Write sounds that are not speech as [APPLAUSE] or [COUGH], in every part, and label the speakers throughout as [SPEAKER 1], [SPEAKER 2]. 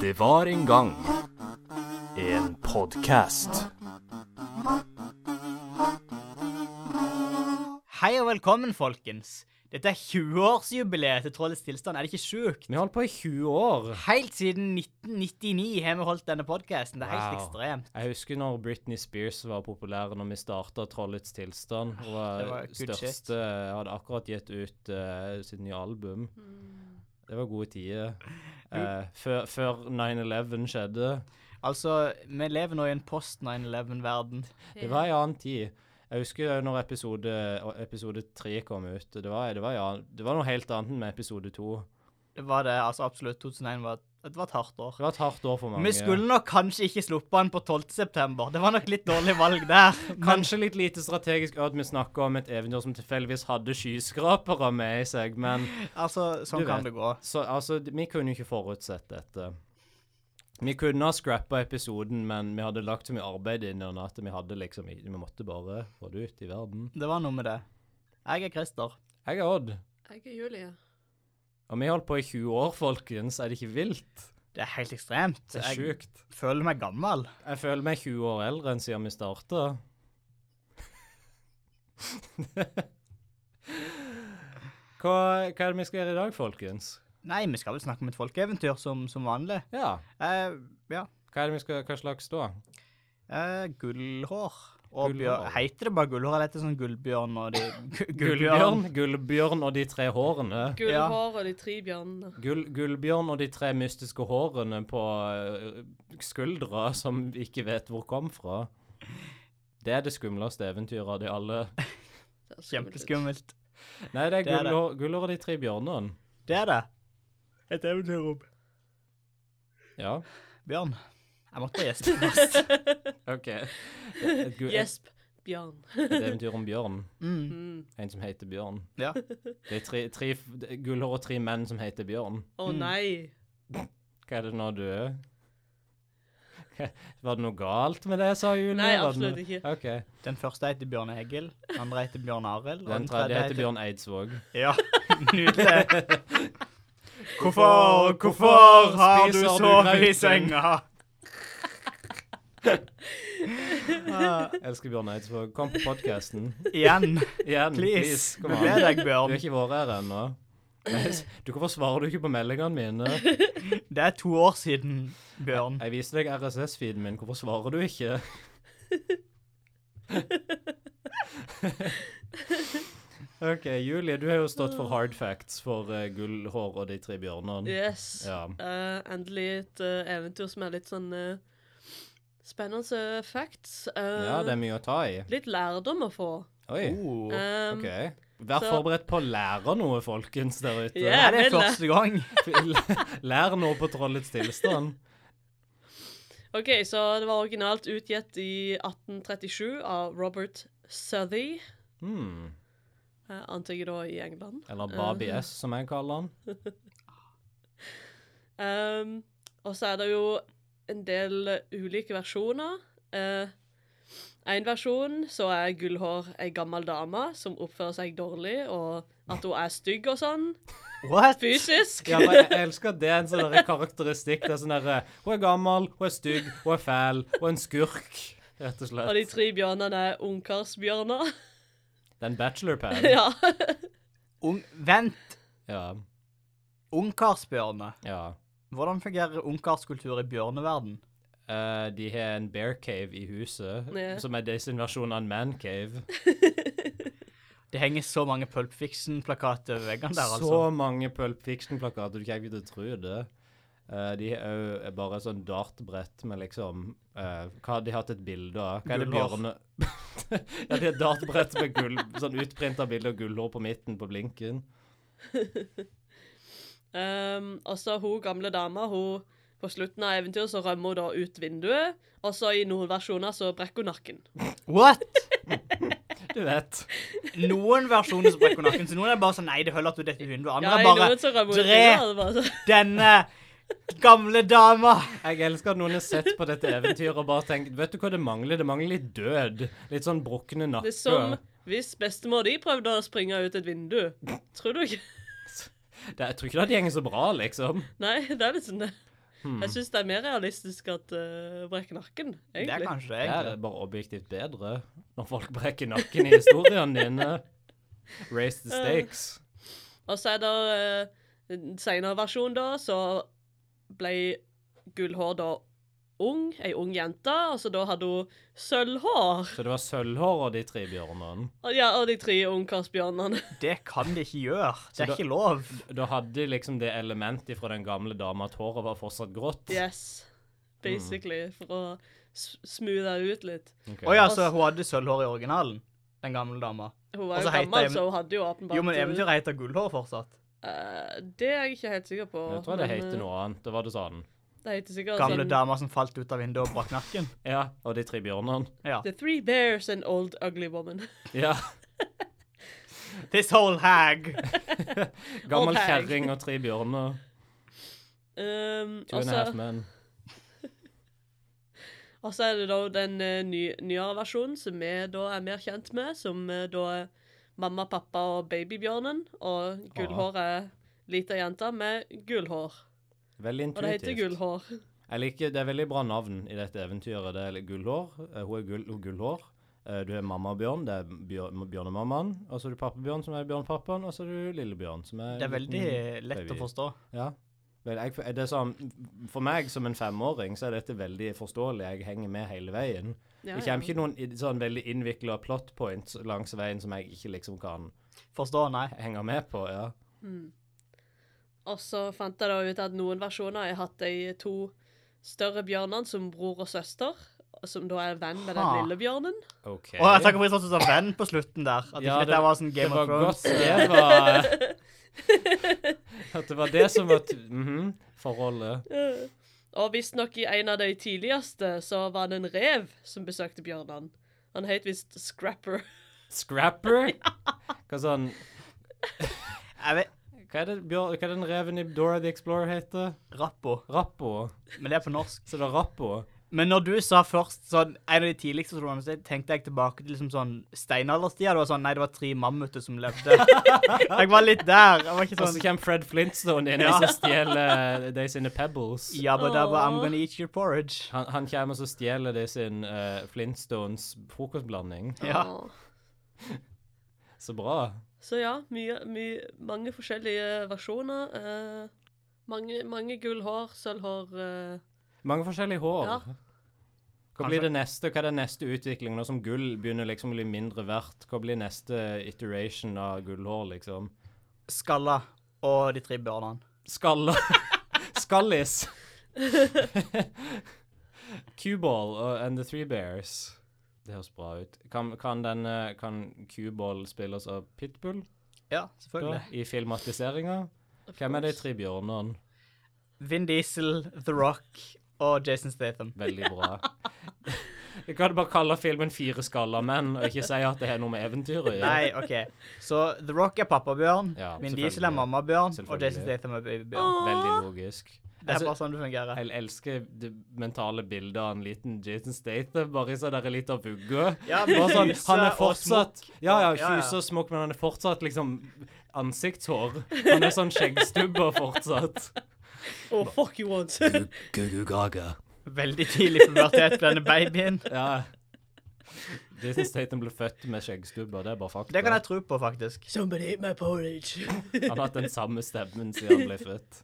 [SPEAKER 1] Det var en gang en podkast.
[SPEAKER 2] Hei og velkommen, folkens. Dette er 20-årsjubileet til Trollets tilstand. Er det ikke sjukt?
[SPEAKER 3] Vi har holdt på i 20 år.
[SPEAKER 2] Helt siden 1999 har vi holdt denne podkasten. Det er helt
[SPEAKER 3] Wow.
[SPEAKER 2] ekstremt.
[SPEAKER 3] Jeg husker når Britney Spears var populær når vi starta Trollets tilstand. Hun var,
[SPEAKER 2] det var good shit.
[SPEAKER 3] største Hadde akkurat gitt ut eh, sitt nye album. Det var gode tider. Eh, før før 9-11 skjedde.
[SPEAKER 2] Altså, vi lever nå i en post 9-11-verden.
[SPEAKER 3] Det var en annen tid. Jeg husker jo når episode, episode 3 kom ut. og Det var, det, var en annen, det var noe helt annet enn med episode 2.
[SPEAKER 2] Det var det, altså absolutt. 2001 var, det var et hardt år.
[SPEAKER 3] Det var et hardt år for mange.
[SPEAKER 2] Vi skulle nok kanskje ikke sluppet den på 12. september. Det var nok litt dårlig valg
[SPEAKER 3] [LAUGHS]
[SPEAKER 2] der. Men
[SPEAKER 3] Kanskje litt lite strategisk at vi snakker om et eventyr som tilfeldigvis hadde skyskrapere med i seg, men
[SPEAKER 2] altså, sånn
[SPEAKER 3] Du
[SPEAKER 2] kan
[SPEAKER 3] vet.
[SPEAKER 2] det gå.
[SPEAKER 3] Så altså, d- vi kunne jo ikke forutsett dette. Vi kunne ha scrappa episoden, men vi hadde lagt så mye arbeid inn i den at vi hadde liksom i- Vi måtte bare få det ut i verden.
[SPEAKER 2] Det var noe med det. Jeg er Christer.
[SPEAKER 3] Jeg er Odd,
[SPEAKER 4] Jeg er Julie.
[SPEAKER 3] og vi holdt på i 20 år, folkens. Er det ikke vilt?
[SPEAKER 2] Det er helt ekstremt.
[SPEAKER 3] Det er
[SPEAKER 2] Jeg
[SPEAKER 3] sjukt.
[SPEAKER 2] føler meg gammel.
[SPEAKER 3] Jeg føler meg 20 år eldre enn siden vi starta. [LAUGHS] Hva, hva er det vi skal gjøre i dag, folkens?
[SPEAKER 2] Nei, vi skal vel snakke om et folkeeventyr som, som vanlig.
[SPEAKER 3] Ja,
[SPEAKER 2] Eh, ja.
[SPEAKER 3] hva er det vi skal, hva slags da?
[SPEAKER 2] Eh, gullhår. Og
[SPEAKER 3] Gullhår.
[SPEAKER 2] bjørn. Heter det bare gullhår, eller heter det sånn gullbjørn og de
[SPEAKER 3] [LAUGHS]
[SPEAKER 2] gu- Gullbjørn?
[SPEAKER 3] Gullbjørn, Gullbjørn og de tre hårene.
[SPEAKER 4] Gullhår og de tre bjørnene.
[SPEAKER 3] Gull, gullbjørn og de tre mystiske hårene på eh, skuldra som vi ikke vet hvor kom fra. Det er det skumleste eventyret av de alle.
[SPEAKER 4] Det er skummelt. [LAUGHS]
[SPEAKER 2] Kjempeskummelt.
[SPEAKER 3] Nei, det er,
[SPEAKER 2] Det er det.
[SPEAKER 3] gullhår, gullhår og de tre bjørnene.
[SPEAKER 2] Det er det. Et eventyr om
[SPEAKER 3] Ja,
[SPEAKER 2] Bjørn. Jeg måtte bare gjespe først.
[SPEAKER 3] OK. Et, gu- et,
[SPEAKER 4] Gjesp. Bjørn.
[SPEAKER 3] et eventyr om bjørn.
[SPEAKER 2] Mm.
[SPEAKER 4] Mm.
[SPEAKER 3] En som heter Bjørn.
[SPEAKER 2] Ja.
[SPEAKER 3] Det er tre, tre f- det er gullhår og tre menn som heter Bjørn.
[SPEAKER 4] Å
[SPEAKER 2] Mm.
[SPEAKER 4] nei.
[SPEAKER 3] Hva er [LAUGHS] det nå du Hva- Var det noe galt med det, sa Julie?
[SPEAKER 4] Nei,
[SPEAKER 3] Var det noe-
[SPEAKER 4] absolutt ikke.
[SPEAKER 3] OK.
[SPEAKER 2] Den første heter Bjørn Egil, den andre heter Bjørn Arild, og
[SPEAKER 3] Den tredje heter Bjørn Eidsvåg.
[SPEAKER 2] Ja, [LAUGHS] nydelig. Hvorfor, hvorfor har du
[SPEAKER 3] Spiser du
[SPEAKER 2] sovet i
[SPEAKER 3] grauten?
[SPEAKER 2] senga? Ah,
[SPEAKER 3] Elsker Bjørn Eidsvåg. Kom på podkasten.
[SPEAKER 2] igjen.
[SPEAKER 3] Igjen,
[SPEAKER 2] Please.
[SPEAKER 3] [LAUGHS] please.
[SPEAKER 2] Vi
[SPEAKER 3] Kom
[SPEAKER 2] ber
[SPEAKER 3] an.
[SPEAKER 2] deg,
[SPEAKER 3] Du
[SPEAKER 2] Bjørn.
[SPEAKER 3] har ikke vært her ennå. [LAUGHS] Du, hvorfor svarer du ikke på meldingene mine?
[SPEAKER 2] Det er to år siden, Bjørn.
[SPEAKER 3] Jeg viste deg RSS-feeden min, hvorfor svarer du ikke? [LAUGHS] OK, Julie, du har jo stått for hard facts for eh, gullhår og de tre bjørnene.
[SPEAKER 4] Yes.
[SPEAKER 3] Ja.
[SPEAKER 4] Eh, endelig et eh, eventyr som er litt sånn eh, spennende facts. Eh,
[SPEAKER 3] ja, det er mye å ta i.
[SPEAKER 4] Litt lærdom å få.
[SPEAKER 3] Oi,
[SPEAKER 2] Oh.
[SPEAKER 4] Um,
[SPEAKER 3] OK. Vær
[SPEAKER 4] så-
[SPEAKER 3] forberedt på å lære noe, folkens, der ute.
[SPEAKER 4] Ja.
[SPEAKER 2] Er det
[SPEAKER 4] vel, da.
[SPEAKER 2] første gang?
[SPEAKER 3] [LAUGHS] Lær noe på trollets tilstand.
[SPEAKER 4] OK, så det var originalt utgitt i 1837 av Robert Southey.
[SPEAKER 3] Hmm.
[SPEAKER 4] eh, antar jeg da i England.
[SPEAKER 3] Eller Babi
[SPEAKER 4] Eh.
[SPEAKER 3] S, som jeg kaller han.
[SPEAKER 4] Um, og så er det jo en del ulike versjoner. Eh, en versjon så er Gullhår ei gammel dame som oppfører seg dårlig, og at hun er stygg og sånn.
[SPEAKER 2] What?
[SPEAKER 4] Fysisk.
[SPEAKER 3] Ja, men jeg jeg elsker at det er en sånn der karakteristikk. Det er sånn derre Hun er gammel, hun er stygg, hun er fæl, hun er en skurk. Rett og
[SPEAKER 4] Og de
[SPEAKER 3] slett.
[SPEAKER 4] tre bjørnene er ungkarsbjørner. [LAUGHS]
[SPEAKER 3] Det er en bachelorpad.
[SPEAKER 4] ja.
[SPEAKER 2] Ung, vent,
[SPEAKER 3] Ja.
[SPEAKER 2] ungkarsbjørne.
[SPEAKER 3] ja.
[SPEAKER 2] Hvordan fungerer ungkarskultur i bjørneverden?
[SPEAKER 3] Eh, de har en bear cave i huset,
[SPEAKER 4] Ja.
[SPEAKER 3] som er deres versjon av en man cave.
[SPEAKER 2] Det henger så mange Pulp Fiction-plakater over veggene [LAUGHS] der, altså.
[SPEAKER 3] Så mange Pulp Fiction-plakater, du kan ikke tro det. Eh, de har òg bare et sånn dartbrett med liksom eh, Hva har de hatt et bilde av? Hva er det
[SPEAKER 2] Gullhår.
[SPEAKER 3] bjørne... [LAUGHS] ja, de har et dartbrett med gull, sånn utprinta bilde av gullhår på midten på blinken.
[SPEAKER 4] Um, og så hun gamle dama, hun på slutten av eventyret så rømmer hun da ut vinduet. Og så i noen versjoner så brekker hun nakken.
[SPEAKER 2] What?
[SPEAKER 3] Du vet.
[SPEAKER 2] Noen versjoner som brekker nakken, så noen er bare sånn Nei, det holder at du detter i vinduet.
[SPEAKER 4] Ja,
[SPEAKER 2] Andre
[SPEAKER 4] i
[SPEAKER 2] er bare
[SPEAKER 4] noen så rømmer hun ut
[SPEAKER 2] Drep
[SPEAKER 4] vinduet, og det er bare så-
[SPEAKER 2] Denne gamle dama!
[SPEAKER 3] Jeg elsker at noen har sett på dette eventyret og bare tenkt Vet du hva det mangler? Det mangler litt død. Litt sånn brukne
[SPEAKER 4] Det
[SPEAKER 3] nakke.
[SPEAKER 4] er sånn- som hvis bestemor di prøvde å springe ut et vindu. Tror du ikke?
[SPEAKER 3] Det- Jeg tror ikke det hadde gjenget så bra, liksom.
[SPEAKER 4] Nei, det er litt sånn det.
[SPEAKER 2] Hmm.
[SPEAKER 4] Jeg syns det er mer realistisk at uh, brekke nakken,
[SPEAKER 2] Det er
[SPEAKER 4] egentlig.
[SPEAKER 2] kanskje det.
[SPEAKER 3] Det
[SPEAKER 2] egentlig.
[SPEAKER 3] er bare objektivt bedre når folk brekker nakken i historiene dine. Raise the stakes.
[SPEAKER 4] Og så er det uh, en senere versjon, da, så ble Gullhår da ung, ei ung jente, og så da hadde hun sølvhår.
[SPEAKER 3] Så det var sølvhår og de tre bjørnene.
[SPEAKER 4] Og, ja, og de tre
[SPEAKER 2] [LAUGHS]
[SPEAKER 4] ungkarsbjørnene.
[SPEAKER 2] Det kan de ikke gjøre. Det er
[SPEAKER 3] da-
[SPEAKER 2] ikke lov.
[SPEAKER 3] Da hadde de liksom det elementet fra den gamle dama at håret var fortsatt grått.
[SPEAKER 4] Yes, basically, for å s- smoothe ut litt.
[SPEAKER 3] Ok.
[SPEAKER 2] Å ja, så hun hadde sølvhår i originalen, den gamle dama.
[SPEAKER 4] Hun var
[SPEAKER 2] Og så
[SPEAKER 4] jo
[SPEAKER 2] heter
[SPEAKER 4] gammel,
[SPEAKER 2] jeg-
[SPEAKER 4] så hun hadde jo åpenbart
[SPEAKER 2] Jo, men eventyret heter gullhår fortsatt.
[SPEAKER 4] Eh, det er jeg ikke helt sikker på.
[SPEAKER 3] Jeg tror det
[SPEAKER 4] men,
[SPEAKER 3] heter
[SPEAKER 4] eh,
[SPEAKER 3] noe annet. Da var det sånn
[SPEAKER 4] Det heter sikkert
[SPEAKER 2] Gamle
[SPEAKER 4] sånn
[SPEAKER 2] dama som falt ut av vinduet og brakk nakken.
[SPEAKER 3] Ja, og de tre bjørnene.
[SPEAKER 2] Ja.
[SPEAKER 4] The Three Bears and Old Ugly Woman. [LAUGHS]
[SPEAKER 3] Ja.
[SPEAKER 2] This whole hag.
[SPEAKER 3] Gammel
[SPEAKER 4] Og hag.
[SPEAKER 3] kjerring og tre bjørner.
[SPEAKER 4] Um,
[SPEAKER 3] Two and a half men.
[SPEAKER 4] Og så altså er det da den eh, ny, nyere versjonen som vi da er mer kjent med, som eh, da er mamma, pappa og babybjørnen. Og gullhår er lita jente med gullhår.
[SPEAKER 3] Veldig
[SPEAKER 4] Og det heter
[SPEAKER 3] intuitivt.
[SPEAKER 4] gullhår. [LAUGHS]
[SPEAKER 3] Jeg liker, Det er veldig bra navn i dette eventyret. Det er Gullhår. Eh, Hun er gull, hun er gullhår. Eh, Du er mamma Bjørn, det er bjør, bjørnemammaen. Og så er du pappa Bjørn, som er bjørnpappaen. Og så er du lille Bjørn, som er
[SPEAKER 2] Det er veldig lett å
[SPEAKER 3] baby.
[SPEAKER 2] forstå.
[SPEAKER 3] Ja. Vel, jeg, det er sånn, for meg som en femåring så er dette veldig forståelig. Jeg henger med hele veien.
[SPEAKER 4] Ja,
[SPEAKER 3] det
[SPEAKER 4] ja.
[SPEAKER 3] kommer ikke noen i- sånn veldig innvikla plot points langs veien som jeg ikke liksom kan
[SPEAKER 2] Forstå, nei.
[SPEAKER 3] henge med på. ja.
[SPEAKER 4] Og så fant jeg da ut at noen versjoner har hatt de to større bjørnene som bror og søster. Som da er venn med den
[SPEAKER 2] Ha.
[SPEAKER 4] lille bjørnen.
[SPEAKER 3] OK.
[SPEAKER 2] Å, jeg takker for at du sa venn på slutten der. At
[SPEAKER 3] Ja,
[SPEAKER 2] ikke dette
[SPEAKER 3] det-
[SPEAKER 2] var sånn Game
[SPEAKER 3] det var
[SPEAKER 2] of Thrones.
[SPEAKER 3] godt det var At det var det som var t mhm, forholdet.
[SPEAKER 4] Og visstnok i en av de tidligste så var det en rev som besøkte bjørnene. Han het visst Scrapper.
[SPEAKER 3] Scrapper? Hva sånn
[SPEAKER 2] Jeg vet,
[SPEAKER 3] Hva er det, bjør, hva er den reven i Dora the Explorer heter?
[SPEAKER 2] Rappo.
[SPEAKER 3] Rappo?
[SPEAKER 2] Men det er på norsk.
[SPEAKER 3] Så det er Rappo?
[SPEAKER 2] Men når du sa først sånn, en av de tidligste trollene, så tenkte jeg tilbake til liksom sånn steinalderstida. Det var sånn Nei, det var tre mammuter som [LAUGHS] levde. jeg var litt der. Jeg var ikke
[SPEAKER 3] Og så
[SPEAKER 2] sånn
[SPEAKER 3] kommer Fred Flintstone inn
[SPEAKER 2] Ja.
[SPEAKER 3] og så stjeler eh, de sine pebbles.
[SPEAKER 2] Jabba dabba, I'm
[SPEAKER 4] Åh.
[SPEAKER 2] gonna eat your porridge.
[SPEAKER 3] Han, han kommer og så stjeler de sin eh, Flintstones frokostblanding.
[SPEAKER 2] Ja.
[SPEAKER 4] Åh.
[SPEAKER 3] Så bra.
[SPEAKER 4] Så ja, mye, mye, mange forskjellige versjoner. eh, mange, mange gull hår, sølvhår eh,
[SPEAKER 3] Mange forskjellige hår.
[SPEAKER 4] Ja.
[SPEAKER 3] Hva blir det neste? Hva er den neste utviklingen nå som gull begynner liksom å bli mindre verdt? Hva blir neste iteration av gullhår, liksom?
[SPEAKER 2] Skalla og de tre bjørnene.
[SPEAKER 3] Skaller. [LAUGHS] Skallis. [LAUGHS] Q-ball og- and the Three Bears. Det høres bra ut. Kan, kan denne Kan Q-ball spilles av Pitbull
[SPEAKER 2] Ja,
[SPEAKER 3] da,
[SPEAKER 2] selvfølgelig.
[SPEAKER 3] i filmatiseringa? Hvem er de tre bjørnene?
[SPEAKER 2] Vin Diesel, The Rock og Jason Statham.
[SPEAKER 3] Veldig bra. [LAUGHS] Jeg kan bare kalle filmen Fire skalla menn, og ikke si at det har noe med eventyr å gjøre.
[SPEAKER 2] Nei, OK. Så The Rock er pappabjørn,
[SPEAKER 3] Ja,
[SPEAKER 2] Vin Diesel er
[SPEAKER 3] selvfølgelig.
[SPEAKER 2] mammabjørn, og
[SPEAKER 3] Selvfølgelig.
[SPEAKER 2] Jason Statham er babybjørn.
[SPEAKER 3] Veldig logisk.
[SPEAKER 2] Det er
[SPEAKER 3] Altså,
[SPEAKER 2] bare sånn det fungerer.
[SPEAKER 3] jeg elsker det mentale bildet av en liten Jason Statham, bare så der er litt av vugge.
[SPEAKER 2] Ja,
[SPEAKER 3] Bare
[SPEAKER 2] med
[SPEAKER 3] sånn,
[SPEAKER 2] kyse
[SPEAKER 3] han er
[SPEAKER 2] og
[SPEAKER 3] fortsatt Ja, ja,
[SPEAKER 2] Ja, ja.
[SPEAKER 3] kyse og smokk, men han er fortsatt liksom ansiktshår. Han er sånn skjeggstubber fortsatt.
[SPEAKER 4] Oh, fuck you once.
[SPEAKER 3] Gugu-gaga.
[SPEAKER 2] Veldig tidlig pubertet på denne babyen.
[SPEAKER 3] Ja. Jason Statham ble født med skjeggstubber, det er bare fakta.
[SPEAKER 2] Det kan jeg tro på, faktisk.
[SPEAKER 4] [LAUGHS] Somebody ate my porridge.
[SPEAKER 3] Han har hatt den samme stemmen siden han ble født.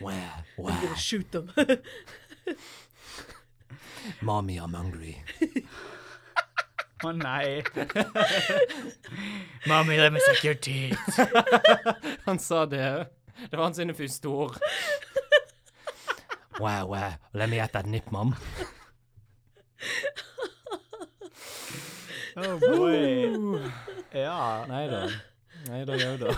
[SPEAKER 3] Wow, wow,
[SPEAKER 4] Shoot them. [LAUGHS]
[SPEAKER 3] mommy, I'm hungry.
[SPEAKER 2] Å [LAUGHS] nei. Mommy, let me suck your teeth.
[SPEAKER 3] Han sa det òg. Det var hans sine første ord. [LAUGHS] Wow, wow, let me at that nip, mom.
[SPEAKER 2] Oh boy. Ja.
[SPEAKER 3] Uh, Nei da. Nei da, jau da.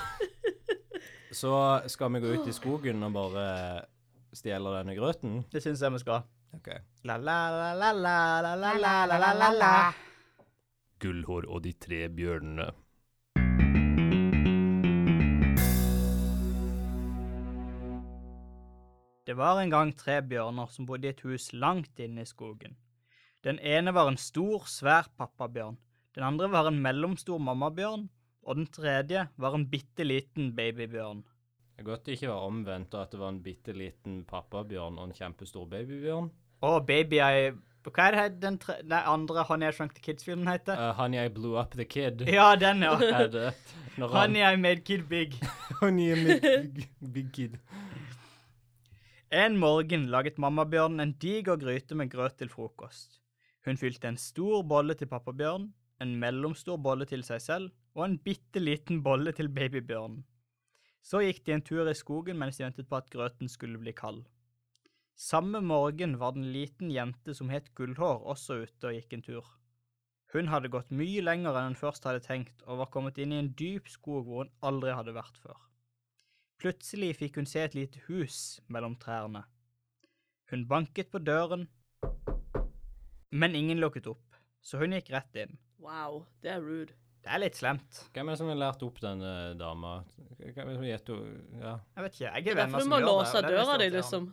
[SPEAKER 3] Så skal vi gå ut i skogen og bare stjele denne grøten?
[SPEAKER 2] Det syns jeg vi skal.
[SPEAKER 3] Ok.
[SPEAKER 2] La la la la la la la la la la la la.
[SPEAKER 1] Gullhår og de tre bjørnene.
[SPEAKER 2] Det var en gang tre bjørner som bodde i et hus langt inne i skogen. Den ene var en stor, svær pappabjørn, den andre var en mellomstor mammabjørn, og den tredje var en bitte liten babybjørn.
[SPEAKER 3] Jeg Det er godt det ikke var omvendt, og at det var en bitte liten pappabjørn og en kjempestor babybjørn.
[SPEAKER 2] Å, baby, jeg Hva er det den tre, den andre Han jeg shrunk the kids-filmen heter?
[SPEAKER 3] Eh, Honey, I blew up the [LAUGHS] kid.
[SPEAKER 2] Ja, den, ja.
[SPEAKER 3] Er det når han
[SPEAKER 2] Han
[SPEAKER 3] [LAUGHS]
[SPEAKER 2] jeg made kid big.
[SPEAKER 3] Honey, I big, big kid.
[SPEAKER 2] En morgen laget mammabjørnen en diger gryte med grøt til frokost. Hun fylte en stor bolle til pappabjørn, en mellomstor bolle til seg selv og en bitte liten bolle til babybjørnen. Så gikk de en tur i skogen mens de ventet på at grøten skulle bli kald. Samme morgen var den liten jente som het Gullhår også ute og gikk en tur. Hun hadde gått mye lenger enn hun først hadde tenkt, og var kommet inn i en dyp skog hvor hun aldri hadde vært før. Plutselig fikk hun se et lite hus mellom trærne. Hun banket på døren, men ingen lukket opp, så hun gikk rett inn.
[SPEAKER 4] Wow, det er rude.
[SPEAKER 2] Det er litt slemt.
[SPEAKER 3] Hvem er det som har lært opp denne dama? Hvem er det som gjetter Ja.
[SPEAKER 2] Jeg vet ikke,
[SPEAKER 4] Det
[SPEAKER 2] jeg
[SPEAKER 4] er
[SPEAKER 2] er venner
[SPEAKER 4] derfor du
[SPEAKER 2] som
[SPEAKER 4] må
[SPEAKER 2] gjør det.
[SPEAKER 4] låse
[SPEAKER 2] og det er
[SPEAKER 4] døra di,
[SPEAKER 2] litt irriterende.
[SPEAKER 4] liksom.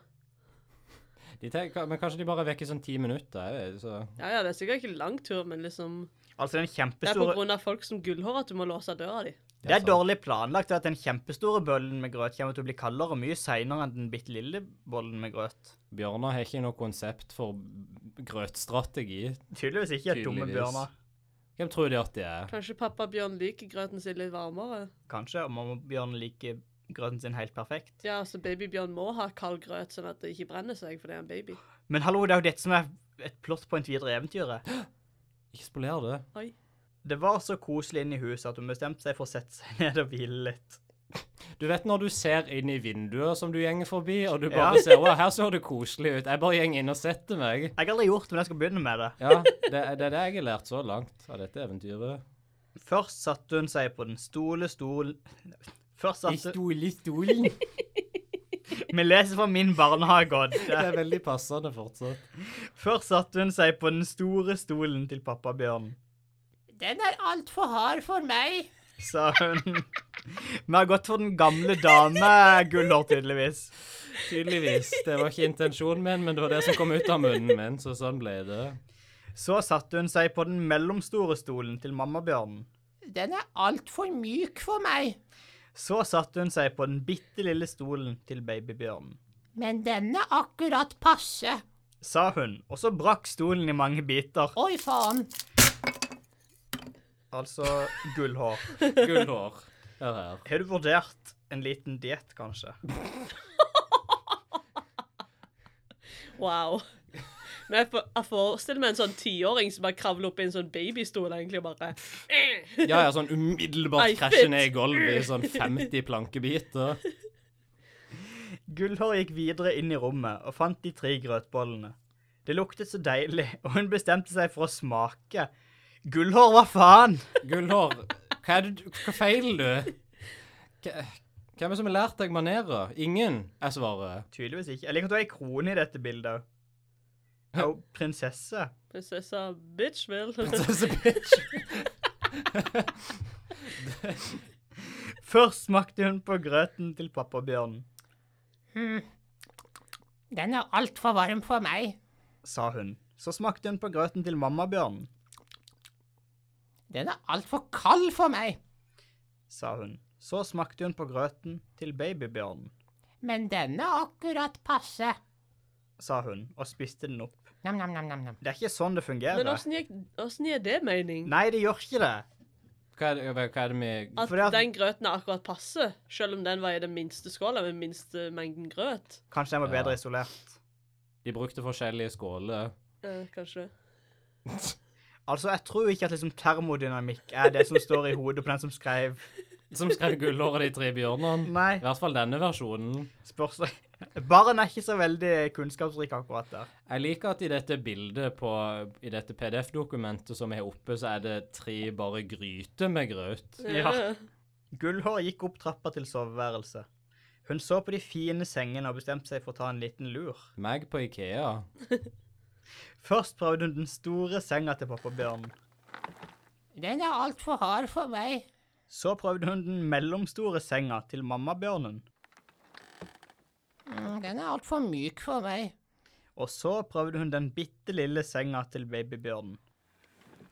[SPEAKER 3] De tenker, men kanskje de bare er vekke i sånn ti minutter? Jeg vet, så.
[SPEAKER 4] Ja, ja, det er sikkert ikke lang tur, men liksom
[SPEAKER 2] Altså, den
[SPEAKER 4] Det er på
[SPEAKER 2] kjempestore...
[SPEAKER 4] grunn sånn. av folk som gullhår at du må låse døra di.
[SPEAKER 2] Det er
[SPEAKER 3] sant.
[SPEAKER 2] dårlig planlagt at den kjempestore bøllen med grøt kommer til å bli kaldere mye seinere enn den bitte lille bollen med grøt.
[SPEAKER 3] Bjørnar har ikke noe konsept for grøtstrategi.
[SPEAKER 2] Tydeligvis ikke et dumme
[SPEAKER 3] Tydeligvis.
[SPEAKER 2] bjørner.
[SPEAKER 3] Hvem tror de at de er?
[SPEAKER 4] Kanskje pappa Bjørn liker grøten sin litt varmere?
[SPEAKER 2] Kanskje, og mammabjørnen liker grøten sin helt perfekt.
[SPEAKER 4] Ja, altså babybjørn må ha kald grøt, sånn at det ikke brenner seg, for det er en baby.
[SPEAKER 2] Men hallo, det er jo dette som er et plot point videre i eventyret.
[SPEAKER 3] Ikke spoler det.
[SPEAKER 4] Oi.
[SPEAKER 2] Det var så koselig inne i huset at hun bestemte seg for å sette seg [LAUGHS] ned og hvile litt.
[SPEAKER 3] Du vet når du ser inn i vinduer som du gjenger forbi, og du
[SPEAKER 2] Ja.
[SPEAKER 3] bare ser Å, her så det koselig ut. Jeg bare gjeng inn og setter meg.
[SPEAKER 2] Jeg har aldri gjort det, men jeg skal begynne med det.
[SPEAKER 3] Ja, det, er- det er det jeg har lært så langt av dette eventyret.
[SPEAKER 2] Først satte hun seg på den stole stol... Først satte hun...
[SPEAKER 3] stol i stolen.
[SPEAKER 2] Vi leser fra min barnehage, Odd.
[SPEAKER 3] Det er veldig passende fortsatt.
[SPEAKER 2] Først satte hun seg på den store stolen til pappa Bjørn,
[SPEAKER 3] Den er altfor hard for meg.
[SPEAKER 2] sa hun. Vi har gått for den gamle dame, Gullhår, tydeligvis.
[SPEAKER 3] Tydeligvis. Det var ikke intensjonen min, men det var det som kom ut av munnen min, så sånn ble det.
[SPEAKER 2] Så satte hun seg på den mellomstore stolen til mamma Bjørn.
[SPEAKER 3] Den er altfor myk for meg.
[SPEAKER 2] Så satte hun seg på den bitte lille stolen til babybjørnen,
[SPEAKER 3] Men den er akkurat passe.
[SPEAKER 2] sa hun, og så brakk stolen i mange biter,
[SPEAKER 3] Oi, faen.
[SPEAKER 2] altså gullhår.
[SPEAKER 3] Gullhår. Hør her.
[SPEAKER 2] Har du vurdert en liten diett, kanskje?
[SPEAKER 4] Wow. Men jeg, for, jeg forestiller meg en sånn tiåring som bare kravler opp i en sånn babystol, egentlig, og bare
[SPEAKER 3] Ja, ja, sånn umiddelbart
[SPEAKER 4] Ei,
[SPEAKER 3] krasjer
[SPEAKER 4] fett.
[SPEAKER 3] ned i gulvet i sånn 50 plankebiter.
[SPEAKER 2] Gullhår gikk videre inn i rommet og fant de tre grøtbollene. Det luktet så deilig, og hun bestemte seg for å smake. Gullhår, hva faen?
[SPEAKER 3] Gullhår, hva er det du Hva feiler du? Hva- Hvem er det som har lært deg manerer? Ingen, er svaret. [LAUGHS]
[SPEAKER 2] Tydeligvis ikke. Jeg liker at du har ei krone i dette bildet. Og prinsesse.
[SPEAKER 4] Prinsessa bitch vil.
[SPEAKER 3] Prinsesse bitch.
[SPEAKER 2] Først smakte hun på grøten til pappabjørnen,
[SPEAKER 3] Den er altfor varm for meg.
[SPEAKER 2] sa hun. Så smakte hun på grøten til mammabjørnen.
[SPEAKER 3] Den er altfor kald for meg.
[SPEAKER 2] sa hun. Så smakte hun på grøten til babybjørnen,
[SPEAKER 3] Men den er akkurat passe.
[SPEAKER 2] sa hun, og spiste den opp.
[SPEAKER 3] Nam-nam-nam.
[SPEAKER 2] Det er ikke sånn det fungerer.
[SPEAKER 4] Men åssen gikk- åssen gir det mening?
[SPEAKER 2] Nei, det gjør ikke det.
[SPEAKER 3] Hva er det, hva er det med
[SPEAKER 4] At
[SPEAKER 2] Fordi at-
[SPEAKER 4] den grøten er akkurat passe, selv om den var i den minste skåla med minste mengden grøt?
[SPEAKER 2] Kanskje den var bedre
[SPEAKER 3] Ja.
[SPEAKER 2] isolert.
[SPEAKER 3] De brukte forskjellige skåler.
[SPEAKER 4] Eh, kanskje.
[SPEAKER 2] Altså, jeg tror ikke at liksom termodynamikk er det som står i hodet på den som skrev
[SPEAKER 3] Som skrev gullhåret de tre bjørnene. I
[SPEAKER 2] Nei,
[SPEAKER 3] hvert fall denne versjonen.
[SPEAKER 2] spørsmål. Barn er ikke så veldig kunnskapsrike akkurat der.
[SPEAKER 3] Jeg liker at i dette bildet på, i dette PDF-dokumentet som jeg har oppe, så er det tre bare gryter med grøt.
[SPEAKER 2] Ja.
[SPEAKER 4] Eh,
[SPEAKER 2] Gullhår gikk opp trappa til soveværelset. Hun så på de fine sengene og bestemte seg for å ta en liten lur.
[SPEAKER 3] Meg på Ikea.
[SPEAKER 2] Først prøvde hun den store senga til pappabjørnen.
[SPEAKER 3] Den er altfor hard for meg.
[SPEAKER 2] Så prøvde hun den mellomstore senga til mammabjørnen.
[SPEAKER 3] Den er altfor myk for meg.
[SPEAKER 2] Og så prøvde hun den bitte lille senga til babybjørnen,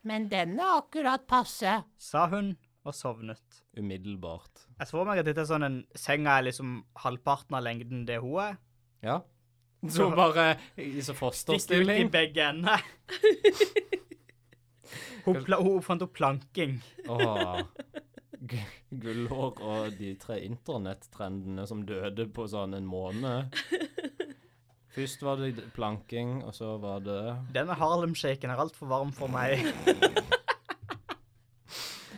[SPEAKER 3] Men den er akkurat passe.
[SPEAKER 2] sa hun, og sovnet.
[SPEAKER 3] Umiddelbart.
[SPEAKER 2] Jeg så for meg at dette er sånn en senga er liksom halvparten av lengden det hun er. [LAUGHS]
[SPEAKER 3] Ja. Så bare i så
[SPEAKER 2] Stikker ut i
[SPEAKER 3] fosterstilling.
[SPEAKER 2] begge ender. Hun, pla hun fant opp planking.
[SPEAKER 3] Åh. Gu- Gullhår og de tre internettrendene som døde på sånn en måned. Først var det planking, og så var det
[SPEAKER 2] Denne Harlem-shaken er altfor varm for meg.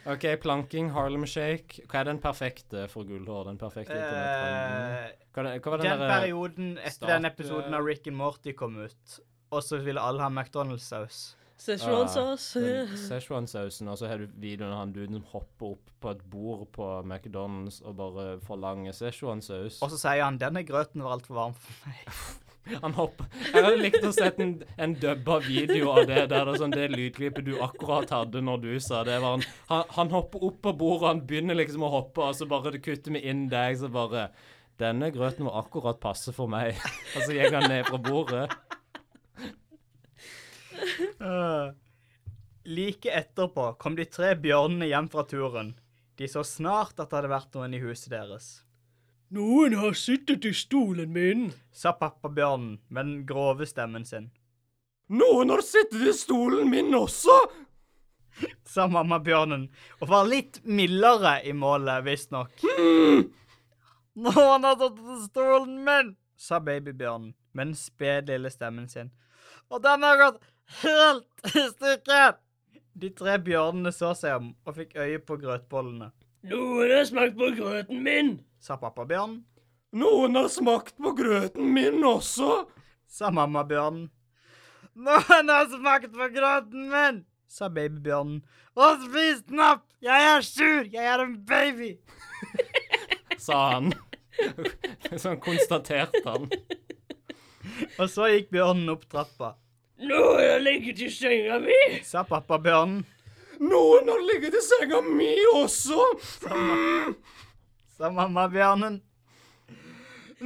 [SPEAKER 3] OK, planking, Harlem Shake. Hva er den perfekte for gullhår? Den perfekte internettrenden?
[SPEAKER 2] Eh,
[SPEAKER 3] Hva, er den- hva var den
[SPEAKER 2] den
[SPEAKER 3] derre
[SPEAKER 2] perioden etter
[SPEAKER 3] start- eh,
[SPEAKER 2] den episoden av Rick and Morty kom ut, og så ville alle ha McDonald's-saus.
[SPEAKER 4] Szechuan
[SPEAKER 3] Ah,
[SPEAKER 4] sauce.
[SPEAKER 3] Szechuan-sausen, og så har du videoen av han duden som hopper opp på et bord på McDonald's og bare forlanger Szechuan-saus.
[SPEAKER 2] Og så sier han denne grøten var altfor varm for meg.
[SPEAKER 3] Han hopper. Jeg hadde likt å sett en, en dubba video av det der det, er sånn, det lydklippet du akkurat hadde når du sa det. var han, han, han hopper opp på bordet, han begynner liksom å hoppe, og så bare det kutter vi inn deg, så bare Denne grøten var akkurat passe for meg. [LAUGHS] Og så gikk han ned fra bordet. [LAUGHS]
[SPEAKER 2] Øh. Like etterpå kom de tre bjørnene hjem fra turen. De så snart at det hadde vært noen i huset deres.
[SPEAKER 4] Noen har sittet i stolen min.
[SPEAKER 2] Sa pappabjørnen med den grove stemmen sin.
[SPEAKER 3] Noen har sittet i stolen min også!
[SPEAKER 2] Sa mammabjørnen, og var litt mildere i målet, visstnok.
[SPEAKER 3] Mm.
[SPEAKER 2] Noen har altså tatt til stolen min, sa babybjørnen med den spede lille stemmen sin. Og den har gått helt i stykker. De tre bjørnene så seg om og fikk øye på grøtbollene,
[SPEAKER 4] Noen har smakt på grøten min.
[SPEAKER 2] sa pappabjørnen.
[SPEAKER 3] Noen har smakt på grøten min også!
[SPEAKER 2] sa mammabjørnen. Noen har altså smakt på grøten min, sa babybjørnen. Og spist den opp! Jeg er sur! Jeg er en baby!
[SPEAKER 3] Sa han. [LAUGHS] Sånn konstaterte han.
[SPEAKER 2] Og så gikk bjørnen opp trappa,
[SPEAKER 4] Noen har ligget i senga mi.
[SPEAKER 2] sa pappabjørnen,
[SPEAKER 3] Noen har ligget i senga mi også! Mm.
[SPEAKER 2] sa mammabjørnen.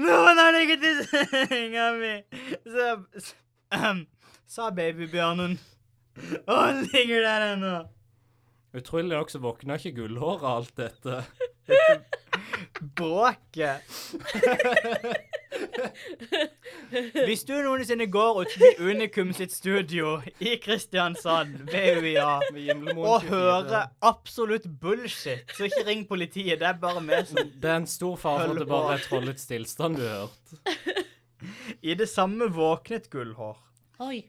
[SPEAKER 2] Noen har ligget i senga mi, sa, s- ahem, sa babybjørnen. Og han ligger der ennå.
[SPEAKER 3] Utrolig nok så våkna ikke gullhåret av alt dette.
[SPEAKER 2] Bråket. Hvis du noensinne går utenfor Unikum sitt studio i Kristiansand, VUIA,
[SPEAKER 3] Med Gimlemoen
[SPEAKER 2] og
[SPEAKER 3] 24.
[SPEAKER 2] hører absolutt bullshit, så ikke ring politiet. Det er bare meg som
[SPEAKER 3] Det er en stor fare for at
[SPEAKER 2] Følg
[SPEAKER 3] det bare
[SPEAKER 2] på.
[SPEAKER 3] er trollets tilstand du har hørt.
[SPEAKER 2] I det samme våknet Gullhår.
[SPEAKER 4] Oi.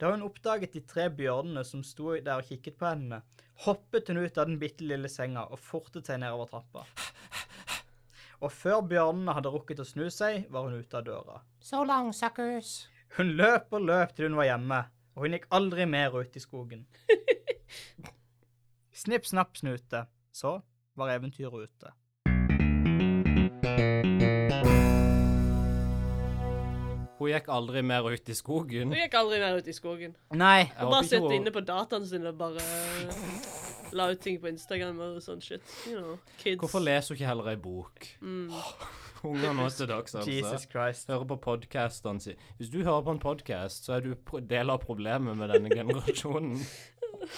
[SPEAKER 2] Da hun oppdaget de tre bjørnene som sto der og kikket på henne, hoppet hun ut av den bitte lille senga og fortet seg nedover trappa. Og før bjørnene hadde rukket å snu seg, var hun ute av døra.
[SPEAKER 3] So long, suckers.
[SPEAKER 2] Hun løp og løp til hun var hjemme, og hun gikk aldri mer ut i skogen. Snipp, snapp, snute. Så var eventyret ute.
[SPEAKER 3] Hun gikk aldri mer ut i skogen.
[SPEAKER 4] [LAUGHS] Hun gikk aldri mer ut i skogen.
[SPEAKER 2] Nei.
[SPEAKER 3] Jeg
[SPEAKER 4] Bare
[SPEAKER 3] håper ikke
[SPEAKER 4] sitte
[SPEAKER 3] hun-
[SPEAKER 4] inne på dataen sin og bare eh, la ut ting på Instagram og sånn shit. You know, kids.
[SPEAKER 3] Hvorfor leser hun ikke heller ei bok?
[SPEAKER 4] Mm.
[SPEAKER 3] [LAUGHS] Unger nå til dags, altså.
[SPEAKER 2] Jesus Christ.
[SPEAKER 3] Hører på podkastene sine. Hvis du hører på en podkast, så er du pro- del av problemet med denne generasjonen.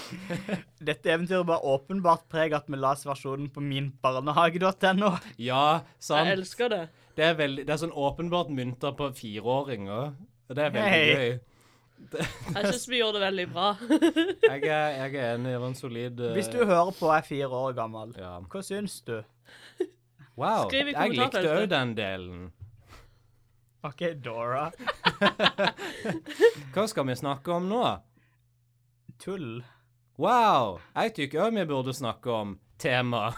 [SPEAKER 4] [LAUGHS]
[SPEAKER 2] Dette eventyret bar åpenbart preg at vi las versjonen på minbarnehage.no.
[SPEAKER 3] Ja,
[SPEAKER 4] Jeg
[SPEAKER 3] sant.
[SPEAKER 4] elsker det.
[SPEAKER 3] Det er, veldig, det er sånn åpenbart mynta på fireåringer. Og det er veldig
[SPEAKER 2] Hei.
[SPEAKER 3] gøy.
[SPEAKER 4] Jeg syns vi gjorde det veldig bra. [LAUGHS]
[SPEAKER 3] Jeg er, jeg er enig. Det var en solid eh,
[SPEAKER 2] Hvis du hører på og er fire år gammel,
[SPEAKER 3] ja.
[SPEAKER 2] hva syns du?
[SPEAKER 3] Wow.
[SPEAKER 4] Skriv i
[SPEAKER 3] Jeg likte
[SPEAKER 4] kommentarfeltet.
[SPEAKER 3] òg den delen.
[SPEAKER 2] OK, Dora.
[SPEAKER 3] Hva skal vi snakke om nå?
[SPEAKER 2] Tull.
[SPEAKER 3] Wow. Jeg tykker òg vi burde snakke om tema.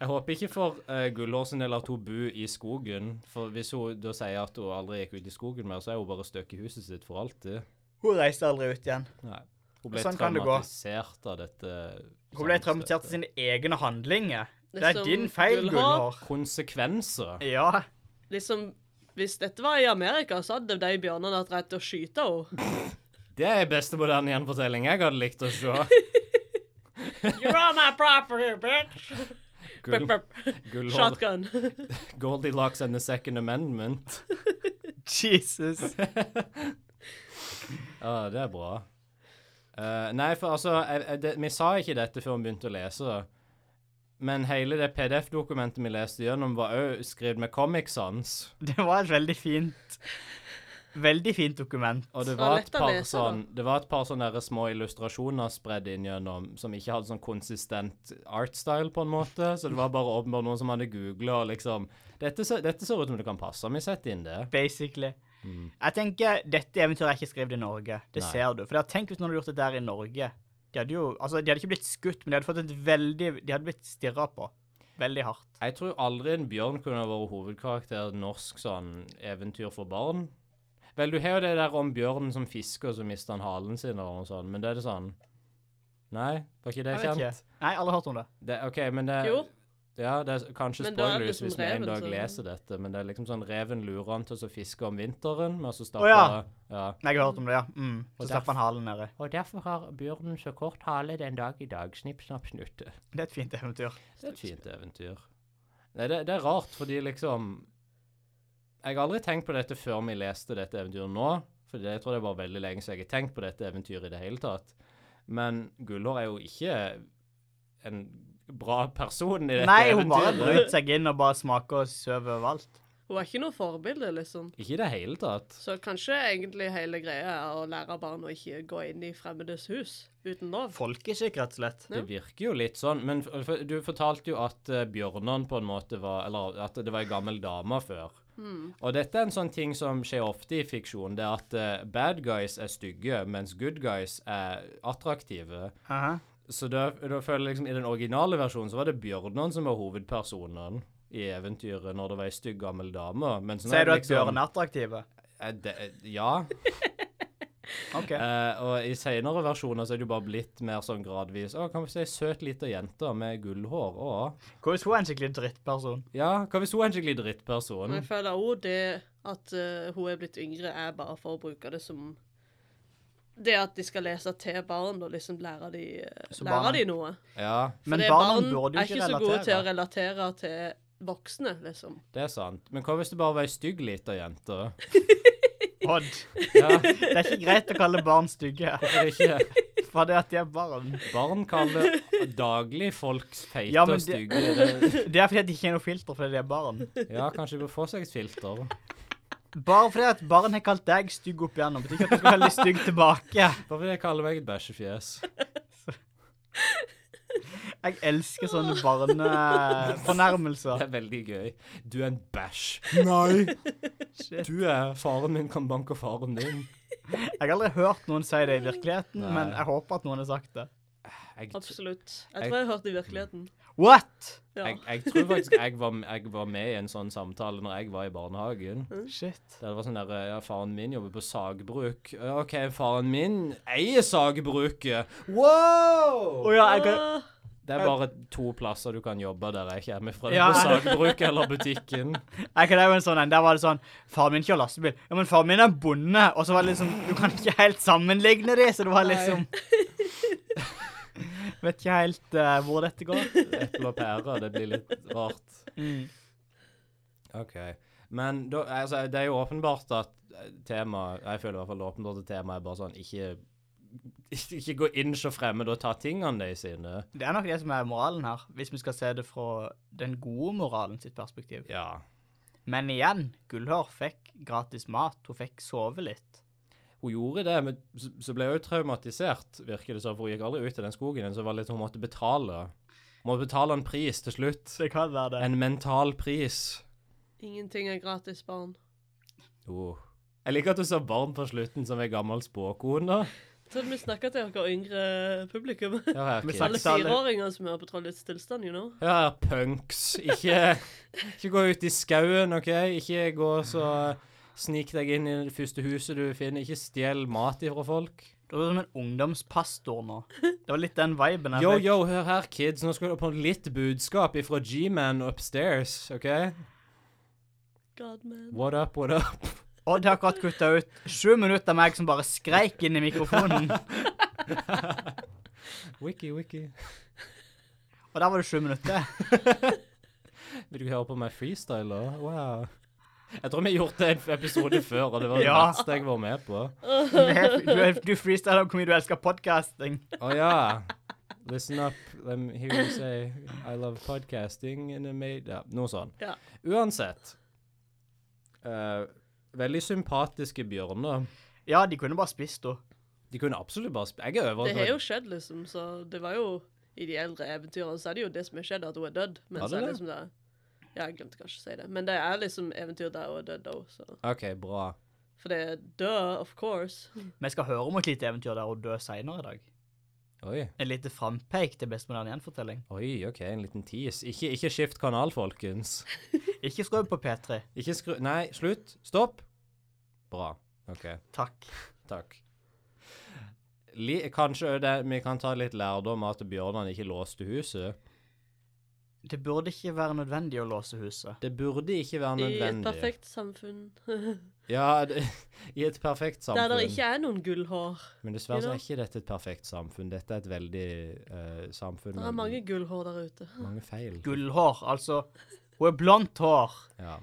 [SPEAKER 3] Jeg håper ikke for uh, Gullår sin del at hun bor i skogen. For hvis hun da sier at hun aldri gikk ut i skogen mer, så er hun bare stuck i huset sitt for alltid.
[SPEAKER 2] Hun reiste aldri ut igjen.
[SPEAKER 3] Nei. Hun ble
[SPEAKER 2] Sånn kan det gå.
[SPEAKER 3] traumatisert av dette.
[SPEAKER 2] Hun ble traumatisert av sine egne handlinger. Det er
[SPEAKER 4] Som
[SPEAKER 2] din feil,
[SPEAKER 4] Gullhår.
[SPEAKER 2] Gullhår.
[SPEAKER 3] Konsekvenser.
[SPEAKER 2] Ja.
[SPEAKER 4] Liksom, Hvis dette var i Amerika, så hadde de bjørnene hatt rett til å skyte henne.
[SPEAKER 3] Det er beste moderne gjenfortelling jeg hadde likt å se.
[SPEAKER 2] [LAUGHS]
[SPEAKER 4] You're on my property, bitch!
[SPEAKER 3] [LAUGHS] Gull,
[SPEAKER 4] Burp, burp.
[SPEAKER 3] gullhår.
[SPEAKER 4] [LAUGHS]
[SPEAKER 3] [LAUGHS]
[SPEAKER 4] Shotgun.
[SPEAKER 3] Goldilocks and the Second Amendment.
[SPEAKER 2] Jesus.
[SPEAKER 3] Ja, det er bra. Eh, nei, for altså jeg, jeg, det, Vi sa ikke dette før vi begynte å lese det. Men hele det PDF-dokumentet vi leste gjennom, var òg skrevet med Comic Sans.
[SPEAKER 2] Det var et veldig fint Veldig fint dokument.
[SPEAKER 3] Og det
[SPEAKER 4] Så
[SPEAKER 3] var, et
[SPEAKER 4] lett å
[SPEAKER 3] par
[SPEAKER 4] lese, da.
[SPEAKER 3] sånn, det var et par sånne der små illustrasjoner spredd inn gjennom, som ikke hadde sånn konsistent artstyle, på en måte. Så det var bare åpenbart noen som hadde googla og liksom dette ser, dette ser ut som det kan passe. Vi setter inn det.
[SPEAKER 2] Basically. Jeg tenker dette eventyret er ikke skrevet i Norge. Det
[SPEAKER 3] Nei.
[SPEAKER 2] ser du. For jeg har tenkt hvis noen hadde gjort det der i Norge. De hadde jo Altså, de hadde ikke blitt skutt, men de hadde fått et veldig De hadde blitt stirra på. Veldig hardt.
[SPEAKER 3] Jeg tror aldri en bjørn kunne vært hovedkarakter i et norsk sånn eventyr for barn. Vel, du har jo det der om bjørnen som fisker, og så mister han halen sin eller noe sånt, men det er det sånn Nei, var ikke det
[SPEAKER 2] Jeg vet
[SPEAKER 3] kjent?
[SPEAKER 2] ikke. Nei, alle har hørt om det.
[SPEAKER 3] Det, OK, men det
[SPEAKER 4] Jo.
[SPEAKER 3] Ja, det er kanskje
[SPEAKER 4] Men da er det
[SPEAKER 3] spoilers
[SPEAKER 4] som
[SPEAKER 3] hvis vi en
[SPEAKER 4] reven,
[SPEAKER 3] dag
[SPEAKER 4] så-
[SPEAKER 3] leser dette, men det er liksom sånn reven lurer han til å fiske om vinteren, men så
[SPEAKER 2] Å,
[SPEAKER 3] stapper
[SPEAKER 2] ja.
[SPEAKER 3] ja.
[SPEAKER 2] Jeg har hørt om det, ja. Mm. Så
[SPEAKER 3] Og
[SPEAKER 2] stapper han halen nedi.
[SPEAKER 3] Og derfor har bjørnen så kort hale den dag i dag. Snipp, snapp, snutte.
[SPEAKER 2] Det er et fint eventyr.
[SPEAKER 3] Det er et fint eventyr. Nei, det, det er rart, fordi liksom Jeg har aldri tenkt på dette før vi leste dette eventyret nå. For det, jeg tror det var veldig lenge siden jeg har tenkt på dette eventyret i det hele tatt. Men Gullhår er jo ikke en bra person
[SPEAKER 2] [LAUGHS]
[SPEAKER 3] i dette
[SPEAKER 2] Nei, hun bare
[SPEAKER 3] eventyret.
[SPEAKER 2] brøt seg inn og bare smaker og søver overalt.
[SPEAKER 4] Hun er ikke noe forbilde, liksom.
[SPEAKER 3] Ikke i det hele tatt.
[SPEAKER 4] Så kanskje egentlig hele greia er å lære barn å ikke gå inn i fremmedes hus uten lov.
[SPEAKER 2] Folkesyk, rett og slett.
[SPEAKER 4] Ja.
[SPEAKER 3] Det virker jo litt sånn, men f- f- du fortalte jo at eh, bjørnene på en måte var Eller at det var ei gammel dame før. Og dette er en sånn ting som skjer ofte i fiksjon, det er at eh, bad guys er stygge, mens good guys er attraktive.
[SPEAKER 2] Aha.
[SPEAKER 3] Så da, da føler jeg liksom i den originale versjonen så var det bjørnene som var hovedpersonene i eventyret, når det var ei stygg gammel dame. Men så nå
[SPEAKER 2] Sier du
[SPEAKER 3] det liksom-
[SPEAKER 2] at bjørn er attraktive?
[SPEAKER 3] Eh, det- eh, Ja.
[SPEAKER 2] OK.
[SPEAKER 3] Eh, og i senere versjoner så er det jo bare blitt mer sånn gradvis Å, kan vi si søt lita jente med gullhår? Å.
[SPEAKER 2] Hvordan hun er en skikkelig drittperson?
[SPEAKER 3] Ja, hva hvis hun er en skikkelig drittperson?
[SPEAKER 4] Men
[SPEAKER 2] Mm.
[SPEAKER 4] jeg føler òg det at eh, hun er blitt yngre, er bare for å bruke det som Det at de skal lese til barn og liksom lære de, eh,
[SPEAKER 2] Så barn-
[SPEAKER 4] lære de noe.
[SPEAKER 3] Ja,
[SPEAKER 4] For
[SPEAKER 2] Men
[SPEAKER 4] det er
[SPEAKER 2] barn burde jo
[SPEAKER 4] er
[SPEAKER 2] ikke
[SPEAKER 4] ikke så gode til å
[SPEAKER 2] relatere.
[SPEAKER 4] relatere til voksne, liksom.
[SPEAKER 3] det er sant. Men hva hvis det bare var ei stygg lita jente?
[SPEAKER 2] Odd.
[SPEAKER 3] Ja,
[SPEAKER 2] Det er ikke greit å kalle barn
[SPEAKER 4] [LAUGHS]
[SPEAKER 2] stygge,
[SPEAKER 3] hvorfor ikke?
[SPEAKER 2] for det at de er barn.
[SPEAKER 3] Barn kaller daglig folk feite
[SPEAKER 2] Ja, men
[SPEAKER 3] og
[SPEAKER 2] det-
[SPEAKER 3] stygge. Det-
[SPEAKER 2] Det er fordi at de ikke er noe filter fordi de er barn.
[SPEAKER 3] Ja, kanskje de bør få seg et filter.
[SPEAKER 2] Bare fordi at barn har kalt deg stygg opp igjennom, betyr ikke at du skal kalle deg stygg tilbake.
[SPEAKER 3] Bare fordi jeg kaller meg et bæsjefjes.
[SPEAKER 2] Jeg elsker sånne barnefornærmelser.
[SPEAKER 3] Det er veldig gøy. Du er en bæsj. Nei! Du er Faren min kan banke faren din.
[SPEAKER 2] Jeg har aldri hørt noen si det i virkeligheten,
[SPEAKER 3] Nei.
[SPEAKER 2] men jeg håper at noen har sagt det.
[SPEAKER 3] Jeg,
[SPEAKER 4] Absolutt. Jeg
[SPEAKER 3] Jeg-
[SPEAKER 4] tror jeg har hørt det i virkeligheten.
[SPEAKER 2] What?!
[SPEAKER 4] Ja.
[SPEAKER 3] jeg, jeg tror faktisk jeg var, jeg var med i en sånn samtale når jeg var i barnehagen.
[SPEAKER 2] Shit.
[SPEAKER 3] Der det var sånn der Ja, faren min jobber på sagbruk. Ja, OK, faren min eier sagbruket. Wow!
[SPEAKER 2] Å ja, jeg kan
[SPEAKER 4] Åh,
[SPEAKER 3] Det er bare to plasser du kan jobbe der jeg kommer fra. Det
[SPEAKER 2] Ja.
[SPEAKER 3] er på [LAUGHS] sagbruket eller butikken.
[SPEAKER 2] Jeg kan det er jo en sånn en. Der var det sånn Faren min kjører lastebil. Ja, men faren min er bonde. Og så var det liksom Du kan ikke helt sammenligne de, så det var liksom [LAUGHS] Vet ikke helt eh, hvor dette går.
[SPEAKER 3] Eple og pære, det blir litt rart.
[SPEAKER 2] Mm.
[SPEAKER 3] OK. Men da, altså, det er jo åpenbart at temaet Jeg føler i hvert fall det åpenbart at temaet er bare sånn ikke [LAUGHS] ikke gå inn så fremmed og ta tingene de sine.
[SPEAKER 2] Det er nok det som er moralen her, hvis vi skal se det fra den gode moralen sitt perspektiv.
[SPEAKER 3] Ja.
[SPEAKER 2] Men igjen, Gullhår fikk gratis mat. Hun fikk sove litt.
[SPEAKER 3] hun gjorde det, men så- så ble hun jo traumatisert, virker det som, for hun gikk aldri ut i den skogen igjen, så det var litt hun måtte betale. Hun måtte betale en pris til slutt.
[SPEAKER 2] Det kan være
[SPEAKER 3] En mental pris.
[SPEAKER 4] Ingenting er gratis, barn.
[SPEAKER 3] Oh. Jeg liker at du sa barn på slutten som ei gammel spåkone.
[SPEAKER 4] Jeg trodde vi snakka til dere yngre publikum.
[SPEAKER 3] Her er,
[SPEAKER 2] Vi
[SPEAKER 3] kids.
[SPEAKER 2] snakker-
[SPEAKER 4] Alle fireåringer som hører på Trollets tilstand, you know.
[SPEAKER 3] her er punks. Ikke, ikke gå ut i skauen, OK? Ikke gå så Snik deg inn i det første huset du finner. Ikke stjel mat ifra folk.
[SPEAKER 2] Du er som en ungdomspastor nå. Det var litt den viben jeg
[SPEAKER 3] Yo,
[SPEAKER 2] fikk.
[SPEAKER 3] yo, hør her, kids. Nå skal du på litt budskap ifra G-man upstairs, OK?
[SPEAKER 4] God man.
[SPEAKER 3] What up, what up?
[SPEAKER 2] Odd har akkurat kutta ut sju minutter av meg som bare skreik inn i mikrofonen.
[SPEAKER 3] Wiki, [LAUGHS] wiki.
[SPEAKER 2] Og der var det sju minutter.
[SPEAKER 3] Vil du høre på meg freestyle, da? Wow. Jeg tror vi har gjort det en episode før, og det var det
[SPEAKER 2] Ja.
[SPEAKER 3] verste jeg var med på.
[SPEAKER 2] Du, er- du freestyler om hvor mye du elsker podcasting.
[SPEAKER 3] Å ja. Listen up, I'm here to say I love podcasting and I made ja, Noe sånn.
[SPEAKER 4] Ja.
[SPEAKER 3] Uansett. eh, veldig sympatiske bjørner.
[SPEAKER 2] Ja, de kunne bare spist henne.
[SPEAKER 3] De kunne absolutt bare sp Jeg er
[SPEAKER 4] Det har
[SPEAKER 3] overrasket.
[SPEAKER 4] jo skjedd, liksom, så det var jo I de eldre eventyrene så er det jo det som har skjedd, at hun er dødd. Men
[SPEAKER 3] Var
[SPEAKER 4] så
[SPEAKER 3] det
[SPEAKER 4] er
[SPEAKER 3] det?
[SPEAKER 4] liksom det Ja, jeg glemte kanskje å si det. Men det er liksom eventyr der hun er dødd òg, så
[SPEAKER 3] OK, bra.
[SPEAKER 4] For det er død, of course.
[SPEAKER 2] Vi skal høre om et lite eventyr der hun dør senere i dag.
[SPEAKER 3] Oi.
[SPEAKER 2] En lite frampeik til Best moderne gjenfortelling.
[SPEAKER 3] Oi, OK, en liten tease. Ikke, ikke skift kanal, folkens.
[SPEAKER 2] Ikke skru på P3.
[SPEAKER 3] Ikke skru Nei, slutt. Stopp. Bra. OK.
[SPEAKER 2] Takk.
[SPEAKER 3] Takk. Li kanskje det, vi kan ta litt lærdom av at bjørnene ikke låste huset.
[SPEAKER 2] Det burde ikke være nødvendig å låse huset.
[SPEAKER 3] Det burde ikke være
[SPEAKER 4] I et
[SPEAKER 3] nødvendig.
[SPEAKER 4] perfekt samfunn. [LAUGHS]
[SPEAKER 3] Ja, det, [LAUGHS] i et perfekt samfunn.
[SPEAKER 4] Der det ikke er noen gullhår.
[SPEAKER 3] Men dessverre så
[SPEAKER 4] Ja.
[SPEAKER 3] er ikke dette et perfekt samfunn. Dette er et veldig eh, samfunn
[SPEAKER 4] Det er mange gullhår der ute.
[SPEAKER 3] mange feil.
[SPEAKER 2] Gullhår, altså. Hun er blondt hår.
[SPEAKER 3] Ja.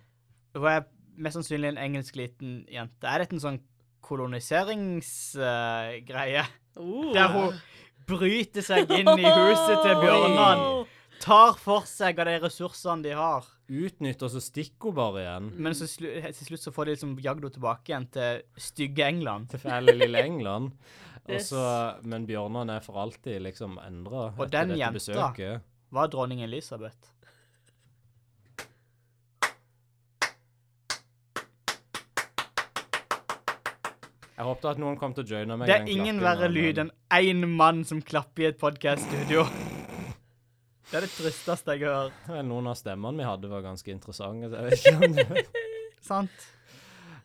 [SPEAKER 2] Hun er mest sannsynlig en engelsk liten jente. Er dette en sånn koloniseringsgreie?
[SPEAKER 4] Oh.
[SPEAKER 2] der hun bryter seg inn i huset til bjørnene, tar for seg av de ressursene de har.
[SPEAKER 3] Utnytt, og så stikker hun bare igjen.
[SPEAKER 4] Mm.
[SPEAKER 2] Men så slu, til slutt så får de liksom jagd henne tilbake igjen til stygge England.
[SPEAKER 3] Til fæle lille
[SPEAKER 4] [LAUGHS]
[SPEAKER 3] England. Og
[SPEAKER 4] Yes.
[SPEAKER 3] så- men bjørnene er for alltid liksom endra
[SPEAKER 2] Og den jenta. Var dronning Elisabeth.
[SPEAKER 3] Jeg håpte at noen kom til å joine meg.
[SPEAKER 2] Det
[SPEAKER 3] i
[SPEAKER 2] er
[SPEAKER 3] den
[SPEAKER 2] ingen
[SPEAKER 3] klappingen,
[SPEAKER 2] verre
[SPEAKER 3] men-
[SPEAKER 2] lyd enn én mann som klapper i et podkaststudio. Det er det tristeste jeg har hørt.
[SPEAKER 3] Vel, Noen av stemmene vi hadde, var ganske interessante. så Jeg vet ikke. Om det,
[SPEAKER 2] Sant?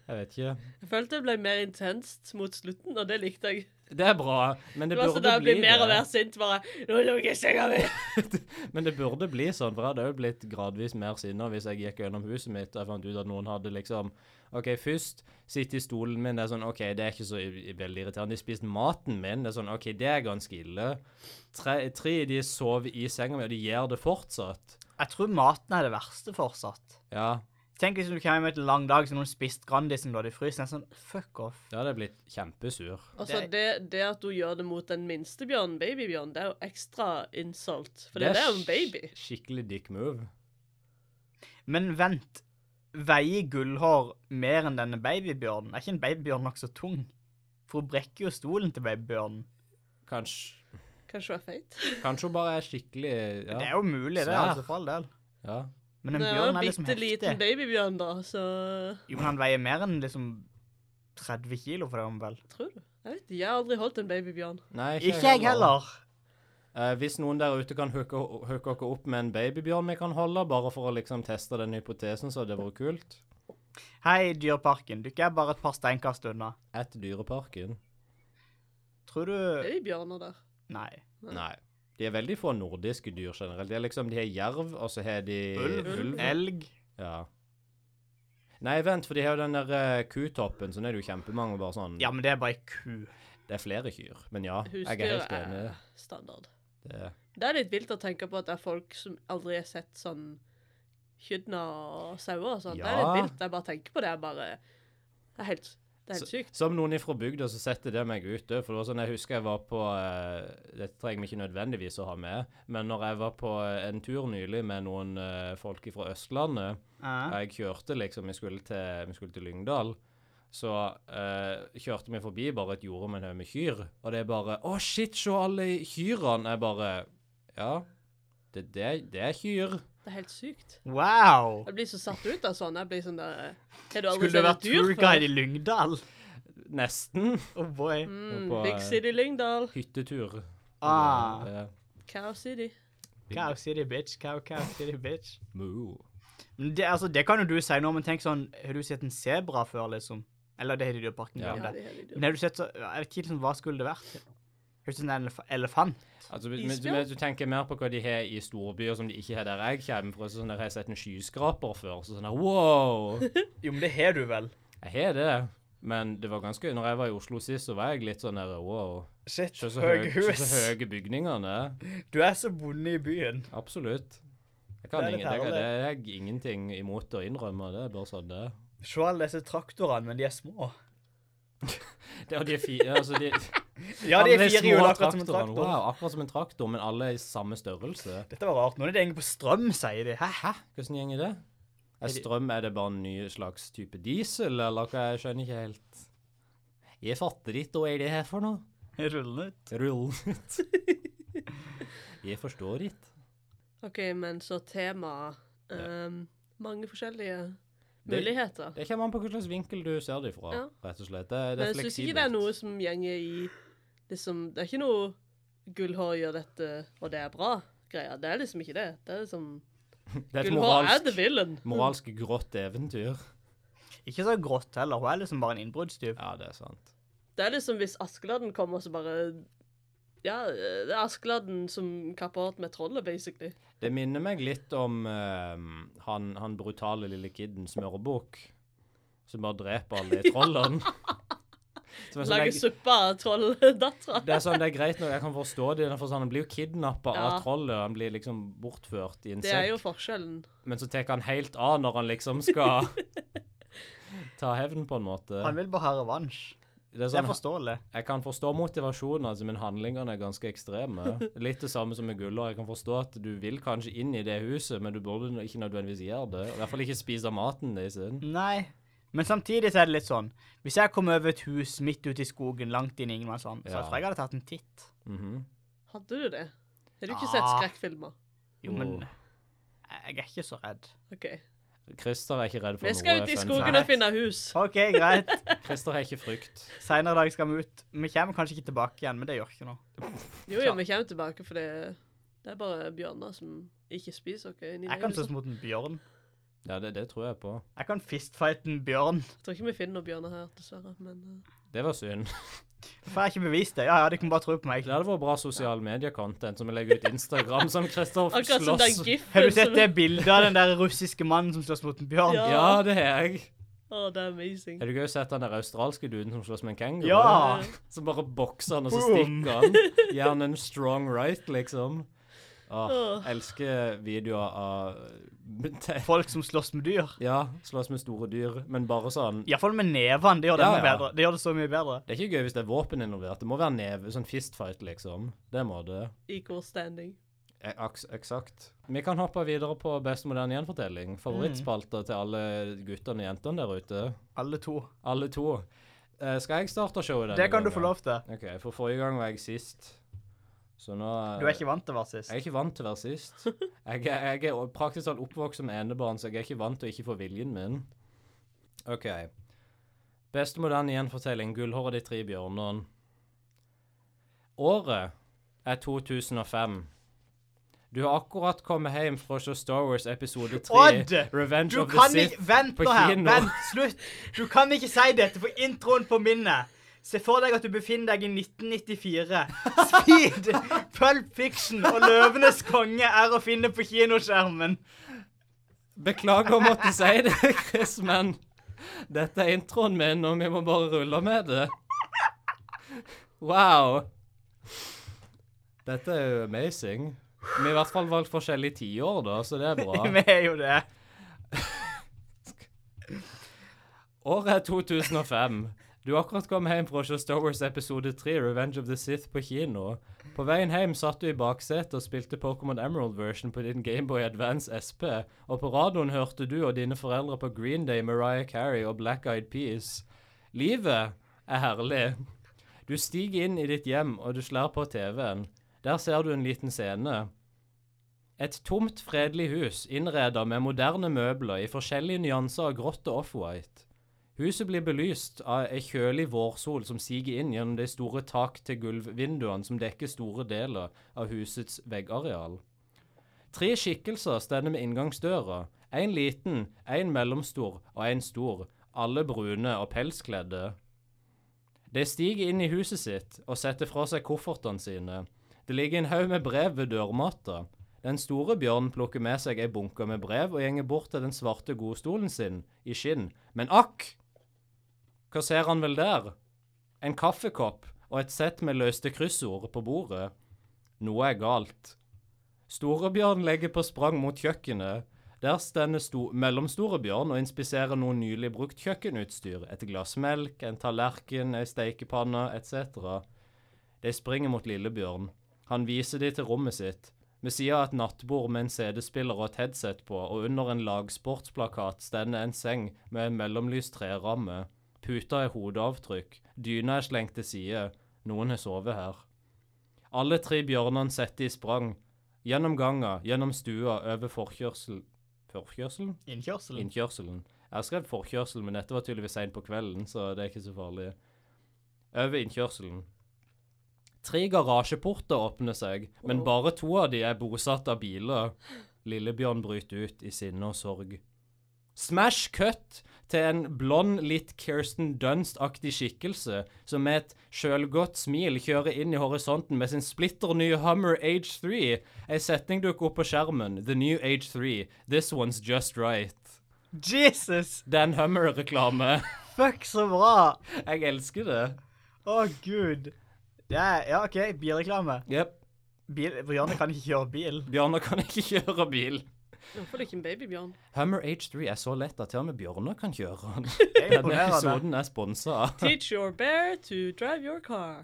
[SPEAKER 3] jeg vet ikke.
[SPEAKER 4] Jeg følte det ble mer intenst mot slutten, og det likte jeg.
[SPEAKER 3] Det er bra, men det,
[SPEAKER 4] Det var sånn
[SPEAKER 3] burde
[SPEAKER 4] der jeg
[SPEAKER 3] bli
[SPEAKER 4] blir mer og
[SPEAKER 3] det.
[SPEAKER 4] mer sint, bare Nå lukker jeg senga mi!
[SPEAKER 3] Men det burde bli sånn, for jeg hadde jo blitt gradvis mer sinna hvis jeg gikk gjennom huset mitt og jeg fant ut at noen hadde liksom OK, først sitte i stolen min, det er sånn OK, det er ikke så i- i- veldig irriterende. De spiste maten min, det er sånn OK, det er ganske ille. Tre, tre de sover i senga mi, og de gjør det fortsatt.
[SPEAKER 2] Jeg tror maten er det verste fortsatt.
[SPEAKER 3] Ja,
[SPEAKER 2] Tenk hvis du kommer hjem etter en lang dag så har noen spist Grandisen du hadde i frysen. Det er Sånn, fuck off.
[SPEAKER 3] da hadde jeg blitt kjempesur.
[SPEAKER 4] Altså,
[SPEAKER 2] Det-
[SPEAKER 4] det, det at hun gjør det mot den minste bjørnen, babybjørnen, det er jo ekstra insult. For det, er jo en baby.
[SPEAKER 3] sk- Skikkelig dick move.
[SPEAKER 2] Men vent. Veier gullhår mer enn denne babybjørnen? Er ikke en babybjørn nokså tung? For hun brekker jo stolen til babybjørnen.
[SPEAKER 3] Kanskje,
[SPEAKER 4] Kanskje hun er feit?
[SPEAKER 3] kanskje hun bare er skikkelig
[SPEAKER 2] Det er
[SPEAKER 3] Ja.
[SPEAKER 2] jo mulig, det,
[SPEAKER 3] Svær.
[SPEAKER 2] altså, for all del.
[SPEAKER 3] ja.
[SPEAKER 2] Men en
[SPEAKER 4] Det er jo
[SPEAKER 2] bjørn
[SPEAKER 4] en
[SPEAKER 2] er liksom
[SPEAKER 4] bitte liten
[SPEAKER 2] heftig.
[SPEAKER 4] babybjørn, da, så
[SPEAKER 2] Jo, men han veier mer enn liksom 30 kilo for det, om vel.
[SPEAKER 4] Tror du? Jeg vet ikke, jeg har aldri holdt en babybjørn.
[SPEAKER 3] Nei,
[SPEAKER 2] Ikke jeg heller.
[SPEAKER 3] Eh, hvis noen der ute kan hooke hooke dere opp med en babybjørn vi kan holde, bare for å liksom teste den hypotesen, så hadde det vært kult.
[SPEAKER 2] Hei, Dyreparken. Du ikke er bare et par steinkast unna.
[SPEAKER 3] Et Dyreparken.
[SPEAKER 2] Tror du
[SPEAKER 4] Babybjørner der.
[SPEAKER 2] Nei.
[SPEAKER 3] Nei. De er veldig få nordiske dyr generelt. De er liksom, de har jerv, og så har de
[SPEAKER 2] Eh, Ulv? Elg?
[SPEAKER 3] Ja. Nei, vent, for de har jo den der eh, kutoppen, så nå er det jo kjempemange bare sånn
[SPEAKER 2] Ja, men det er bare ei ku.
[SPEAKER 3] Det er flere kyr. Men ja, jeg er
[SPEAKER 4] Husdyr
[SPEAKER 3] helt enig.
[SPEAKER 4] er standard.
[SPEAKER 3] Det,
[SPEAKER 4] Det er litt vilt å tenke på at det er folk som aldri har sett sånn kyrne og sauer og sånn. Det er
[SPEAKER 3] Ja.
[SPEAKER 4] litt vilt. Jeg bare tenker på det. Jeg bare Det er helt, det er helt
[SPEAKER 3] Så-
[SPEAKER 4] sykt.
[SPEAKER 3] Som noen ifra bygda, så setter det meg ut òg. For det var sånn, jeg husker jeg var på eh, Dette trenger vi ikke nødvendigvis å ha med, men når jeg var på eh, en tur nylig med noen eh, folk fra Østlandet, og
[SPEAKER 2] Eh?
[SPEAKER 3] jeg kjørte liksom Vi skulle til, vi skulle til Lyngdal. Så eh, kjørte vi forbi bare et jorde med en haug med kyr, og det er bare Å, shit, se alle kyrne! Jeg bare Ja, det, det, er- det er kyr.
[SPEAKER 4] Det er helt sykt.
[SPEAKER 2] Wow!
[SPEAKER 4] Jeg blir så satt ut av sånn. Jeg blir sånn der Har du aldri
[SPEAKER 2] Skulle du
[SPEAKER 4] sett et
[SPEAKER 2] vært
[SPEAKER 4] dyr før?
[SPEAKER 2] turguide i Lyngdal?
[SPEAKER 3] Nesten.
[SPEAKER 2] Oh boy.
[SPEAKER 4] Mm,
[SPEAKER 3] på, eh,
[SPEAKER 4] Big City Lyngdal.
[SPEAKER 3] Hyttetur.
[SPEAKER 2] Ah.
[SPEAKER 3] Det er-
[SPEAKER 4] Cow City.
[SPEAKER 2] Cow City, bitch. Cow, cow City, bitch.
[SPEAKER 3] Moo.
[SPEAKER 2] Men det, altså, det kan jo du si nå, men tenk sånn Har du sett en sebra før, liksom? Eller det har de i Dyreparken.
[SPEAKER 3] Ja.
[SPEAKER 2] Ja.
[SPEAKER 4] Ja,
[SPEAKER 2] det.
[SPEAKER 4] det er helt
[SPEAKER 2] Men har du sett så Jeg vet ikke liksom, hva skulle det vært? Har du sett en elef elefant?
[SPEAKER 3] Altså, men, men-
[SPEAKER 4] Isbjørn?
[SPEAKER 3] men du tenker mer på hva de har i storbyer som de ikke har der jeg kommer fra. så Sånn der har jeg sett en skyskraper før, så sånn der, wow!
[SPEAKER 2] Jo, men det har du vel?
[SPEAKER 3] Jeg har det, men det var ganske Når jeg var i Oslo sist, så var jeg litt sånn der wow.
[SPEAKER 2] Shit,
[SPEAKER 3] Se så høye høy bygningene.
[SPEAKER 2] Du er så bonde i byen.
[SPEAKER 3] Absolutt. Jeg kan
[SPEAKER 2] Det er litt
[SPEAKER 3] ingen, det,
[SPEAKER 2] herlig.
[SPEAKER 3] det er jeg ingenting imot å innrømme, det er bare sånn det er.
[SPEAKER 2] Se alle disse traktorene, men de er små.
[SPEAKER 3] Det, og de er fire, altså de,
[SPEAKER 2] Ja, de
[SPEAKER 3] alle
[SPEAKER 2] er fire hjul,
[SPEAKER 3] små
[SPEAKER 2] akkurat som en
[SPEAKER 3] traktorene.
[SPEAKER 2] traktor.
[SPEAKER 3] Wow, akkurat som en traktor, men alle er i samme størrelse.
[SPEAKER 2] Dette var rart. Nå er det egentlig på strøm, sier [LAUGHS] de. Hæ?
[SPEAKER 3] Hæ? Hvordan gjeng er det? Er strøm, er det bare en ny slags type diesel, eller hva? Jeg skjønner ikke helt. Jeg fatter ikke hva er det her for noe.
[SPEAKER 2] Rullende ut.
[SPEAKER 3] [LAUGHS] Rullet. Jeg forstår ikke.
[SPEAKER 4] OK, men så tema ehm, Mange forskjellige
[SPEAKER 3] Det-
[SPEAKER 4] muligheter.
[SPEAKER 3] Det kommer an på hva slags vinkel du ser det fra,
[SPEAKER 4] Ja.
[SPEAKER 3] rett og slett. Det, det
[SPEAKER 4] Men
[SPEAKER 3] er
[SPEAKER 4] jeg syns ikke det er noe som gjenger i liksom, Det er ikke noe Gullhår gjør dette, og det er bra. Greia. Det er liksom ikke det. Det er liksom
[SPEAKER 3] Det er et
[SPEAKER 4] Gullhår er
[SPEAKER 3] moralsk,
[SPEAKER 4] the villain.
[SPEAKER 3] moralsk grått eventyr.
[SPEAKER 2] Ikke så grått heller. Hun er liksom bare en innbruddstyv.
[SPEAKER 3] Ja, det er sant.
[SPEAKER 4] Det er liksom hvis Askeladden kommer, så bare Ja, det er Askeladden som kapper håret med trollet, basically.
[SPEAKER 3] Det minner meg litt om eh, han, han brutale lille kidden Smørbukk, som bare dreper alle
[SPEAKER 4] [LAUGHS]
[SPEAKER 3] de trollene. [LAUGHS] Som er sånn,
[SPEAKER 4] Lager
[SPEAKER 3] jeg-
[SPEAKER 4] suppe av [LAUGHS] trolldattera.
[SPEAKER 3] Det er sånn, det er greit når jeg kan forstå det. For sånn, han blir jo kidnappa
[SPEAKER 4] Ja.
[SPEAKER 3] av trollet. Han blir liksom bortført i en
[SPEAKER 4] Det er
[SPEAKER 3] sekk.
[SPEAKER 4] jo forskjellen.
[SPEAKER 3] Men så tar han helt av når han liksom
[SPEAKER 4] [LAUGHS]
[SPEAKER 3] skal ta hevn, på en måte.
[SPEAKER 2] Han vil bare ha revansj.
[SPEAKER 3] Det er
[SPEAKER 2] Det er
[SPEAKER 3] sånn,
[SPEAKER 2] forståelig.
[SPEAKER 3] jeg kan forstå motivasjonen, altså, men handlingene er ganske ekstreme.
[SPEAKER 4] [LAUGHS]
[SPEAKER 3] Litt det samme som med Gullår. Jeg kan forstå at du vil kanskje inn i det huset, men du burde ikke nødvendigvis gjøre det. I hvert fall ikke spise maten deres.
[SPEAKER 2] Nei. Men samtidig så er det litt sånn Hvis jeg kom over et hus midt ute i skogen, langt inn i ingenmannsland,
[SPEAKER 3] Ja.
[SPEAKER 2] så tror jeg jeg hadde tatt en titt.
[SPEAKER 3] Mhm.
[SPEAKER 4] Hadde du det? Har du
[SPEAKER 2] Ja.
[SPEAKER 4] ikke sett skrekkfilmer?
[SPEAKER 2] Jo, men
[SPEAKER 3] Jo.
[SPEAKER 2] jeg er ikke så redd.
[SPEAKER 4] OK.
[SPEAKER 3] Christer er ikke redd for
[SPEAKER 4] Vi skal
[SPEAKER 3] noe.
[SPEAKER 4] ut i
[SPEAKER 3] fun
[SPEAKER 4] skogen
[SPEAKER 2] fact.
[SPEAKER 4] og finne hus.
[SPEAKER 2] OK, greit.
[SPEAKER 3] fact. Christer har ikke frykt.
[SPEAKER 2] Seinere i dag skal vi ut. Vi kommer kanskje ikke tilbake igjen, men det gjør ikke noe.
[SPEAKER 4] Jo, jo, vi kommer tilbake, for det, det er bare bjørner som ikke spiser oss inni det
[SPEAKER 2] Jeg kan
[SPEAKER 4] huset.
[SPEAKER 2] slåss mot en bjørn.
[SPEAKER 3] Ja, det, det tror jeg på.
[SPEAKER 2] Jeg kan fistfighte en bjørn.
[SPEAKER 4] Jeg tror ikke vi finner noen bjørner her, dessverre. Men eh,
[SPEAKER 3] Det var synd.
[SPEAKER 2] Får jeg ikke bevist det? Ja, ja, de kan bare tro på meg.
[SPEAKER 3] Det hadde vært bra sosial mediecontent som vi legger ut Instagram som Kristoffer
[SPEAKER 4] akkurat som den
[SPEAKER 3] slåss.
[SPEAKER 4] giffen
[SPEAKER 2] Har du sett
[SPEAKER 4] som-
[SPEAKER 2] det bildet av den der russiske mannen som slåss mot en bjørn?
[SPEAKER 4] Ja.
[SPEAKER 3] Ja, det har jeg.
[SPEAKER 4] Å, det er amazing.
[SPEAKER 3] Har du ikke også sett den der australske duden som slåss med en kenguru?
[SPEAKER 2] Ja.
[SPEAKER 3] Som bare bokser han, og så
[SPEAKER 2] Boom.
[SPEAKER 3] stikker han. Gir han en strong right, liksom. Åh,
[SPEAKER 4] Åh.
[SPEAKER 3] elsker videoer av te-
[SPEAKER 2] Folk som slåss med dyr.
[SPEAKER 3] Ja, slåss med store dyr, men bare sånn
[SPEAKER 2] Iallfall med nevene. Det gjør det,
[SPEAKER 3] Ja,
[SPEAKER 2] enda
[SPEAKER 3] ja.
[SPEAKER 2] bedre. det gjør det så mye bedre.
[SPEAKER 3] Det er ikke gøy hvis det er våpen involvert. Det må være neve, sånn fistfight, liksom. Det må det.
[SPEAKER 4] Equal standing.
[SPEAKER 3] Eh, aks- Eksakt. Vi kan hoppe videre på Best moderne gjenfortelling.
[SPEAKER 2] Mm.
[SPEAKER 3] Favorittspalter til alle guttene og jentene der ute.
[SPEAKER 2] Alle to.
[SPEAKER 3] Alle to. Eh, skal jeg starte showet denne
[SPEAKER 2] Det kan du
[SPEAKER 3] gangen?
[SPEAKER 2] få lov til.
[SPEAKER 3] OK, for forrige gang var jeg sist. Så nå eh,
[SPEAKER 2] Du er ikke vant til å være
[SPEAKER 3] Jeg
[SPEAKER 2] sist.
[SPEAKER 3] er ikke vant til å være sist. Jeg, er- jeg er praktisk talt oppvokst som enebarn, så jeg er ikke vant til å ikke få viljen min. OK. Beste moderne gjenfortelling, 'Gullhåret de tre bjørnene'. Året er 2005. Du har akkurat kommet hjem fra å se Star Wars episode 3,
[SPEAKER 2] Odd!
[SPEAKER 3] Revenge
[SPEAKER 2] Du
[SPEAKER 3] of the
[SPEAKER 2] kan
[SPEAKER 3] Sith.
[SPEAKER 2] ikke Vent
[SPEAKER 3] på
[SPEAKER 2] nå her.
[SPEAKER 3] kino.
[SPEAKER 2] Vent. Slutt. Du kan ikke si dette, for introen på minnet Se for deg at du befinner deg i 1994. Speed, Pulp Fiction og Løvenes konge er å finne på kinoskjermen.
[SPEAKER 3] Beklager å måtte si det, Chris, men dette er introen min, og vi må bare rulle med det. Wow. Dette er jo amazing. Vi har i hvert fall valgt forskjellige tiår, da, så det er bra.
[SPEAKER 2] Vi er jo det.
[SPEAKER 3] Året er 2005. Du har akkurat kommet hjem fra å se Star Wars episode 3, Revenge of the Sith, på kino. På veien hjem satt du i baksetet og spilte Pokémon Emerald version på din Gameboy Advance SP, og på radioen hørte du og dine foreldre på Green Day, Mariah Carey og Black Eyed Peas. Livet er herlig. Du stiger inn i ditt hjem, og du slår på TV-en. Der ser du en liten scene. Et tomt, fredelig hus innreda med moderne møbler i forskjellige nyanser av grått og offwhite. Huset blir belyst av ei kjølig vårsol som siger inn gjennom de store tak-til-gulv-vinduene som dekker store deler av husets veggareal. Tre skikkelser stender med inngangsdøra. En liten, en mellomstor og en stor, alle brune og pelskledde. De stiger inn i huset sitt og setter fra seg koffertene sine. Det ligger en haug med brev ved dørmatta. Den store bjørnen plukker med seg ei bunke med brev og gjenger bort til den svarte godstolen sin i skinn. Men akk! Hva ser han vel der? En kaffekopp og et sett med løste kryssord på bordet. Noe er galt. Storebjørn legger på sprang mot kjøkkenet. Der stender sto mellomstore bjørn og inspiserer noe nylig brukt kjøkkenutstyr. Et glass melk, en tallerken, ei steikepanne etc. De springer mot Lillebjørn. Han viser de til rommet sitt. Ved sida av et nattbord med en CD-spiller og et headset på, og under en lagsportsplakat stender en seng med en mellomlyst treramme. Puta er hodeavtrykk, dyna er slengt til side, noen har sovet her. Alle tre bjørnene setter i sprang. Gjennom ganga, gjennom stua, over forkjørsel... Forkjørselen?
[SPEAKER 2] Innkjørselen.
[SPEAKER 3] Innkjørselen. Jeg har skrevet forkjørsel, men dette var tydeligvis seint på kvelden, så det er ikke så farlig. Over innkjørselen. Tre garasjeporter åpner seg, men bare to av de er bosatt av biler. Lillebjørn bryter ut i sinne og sorg. Smash cut til en blond, litt Kirsten Dunst-aktig skikkelse som med et sjølgodt smil kjører inn i horisonten med sin splitter nye Hummer Age 3. Ei setning dukker opp på skjermen. The new Age 3. This one's just right.
[SPEAKER 2] Jesus!
[SPEAKER 3] Det er en Hummer-reklame.
[SPEAKER 2] Fuck, så bra!
[SPEAKER 3] Jeg elsker det.
[SPEAKER 2] Å, gud. Det er, ja, OK, bilreklame.
[SPEAKER 3] Jepp.
[SPEAKER 2] Bil, Bjørne kan ikke kjøre bil.
[SPEAKER 3] Bjørnar kan ikke [LAUGHS] kjøre bil.
[SPEAKER 4] Hvorfor er det ikke en babybjørn?
[SPEAKER 3] Hummer H3 er så lett at til og med Bjørnar kan kjøre den. [LAUGHS]
[SPEAKER 2] Det er
[SPEAKER 3] Denne
[SPEAKER 2] imponerende.
[SPEAKER 3] episoden er sponsa av
[SPEAKER 4] Teach your bear to drive your car.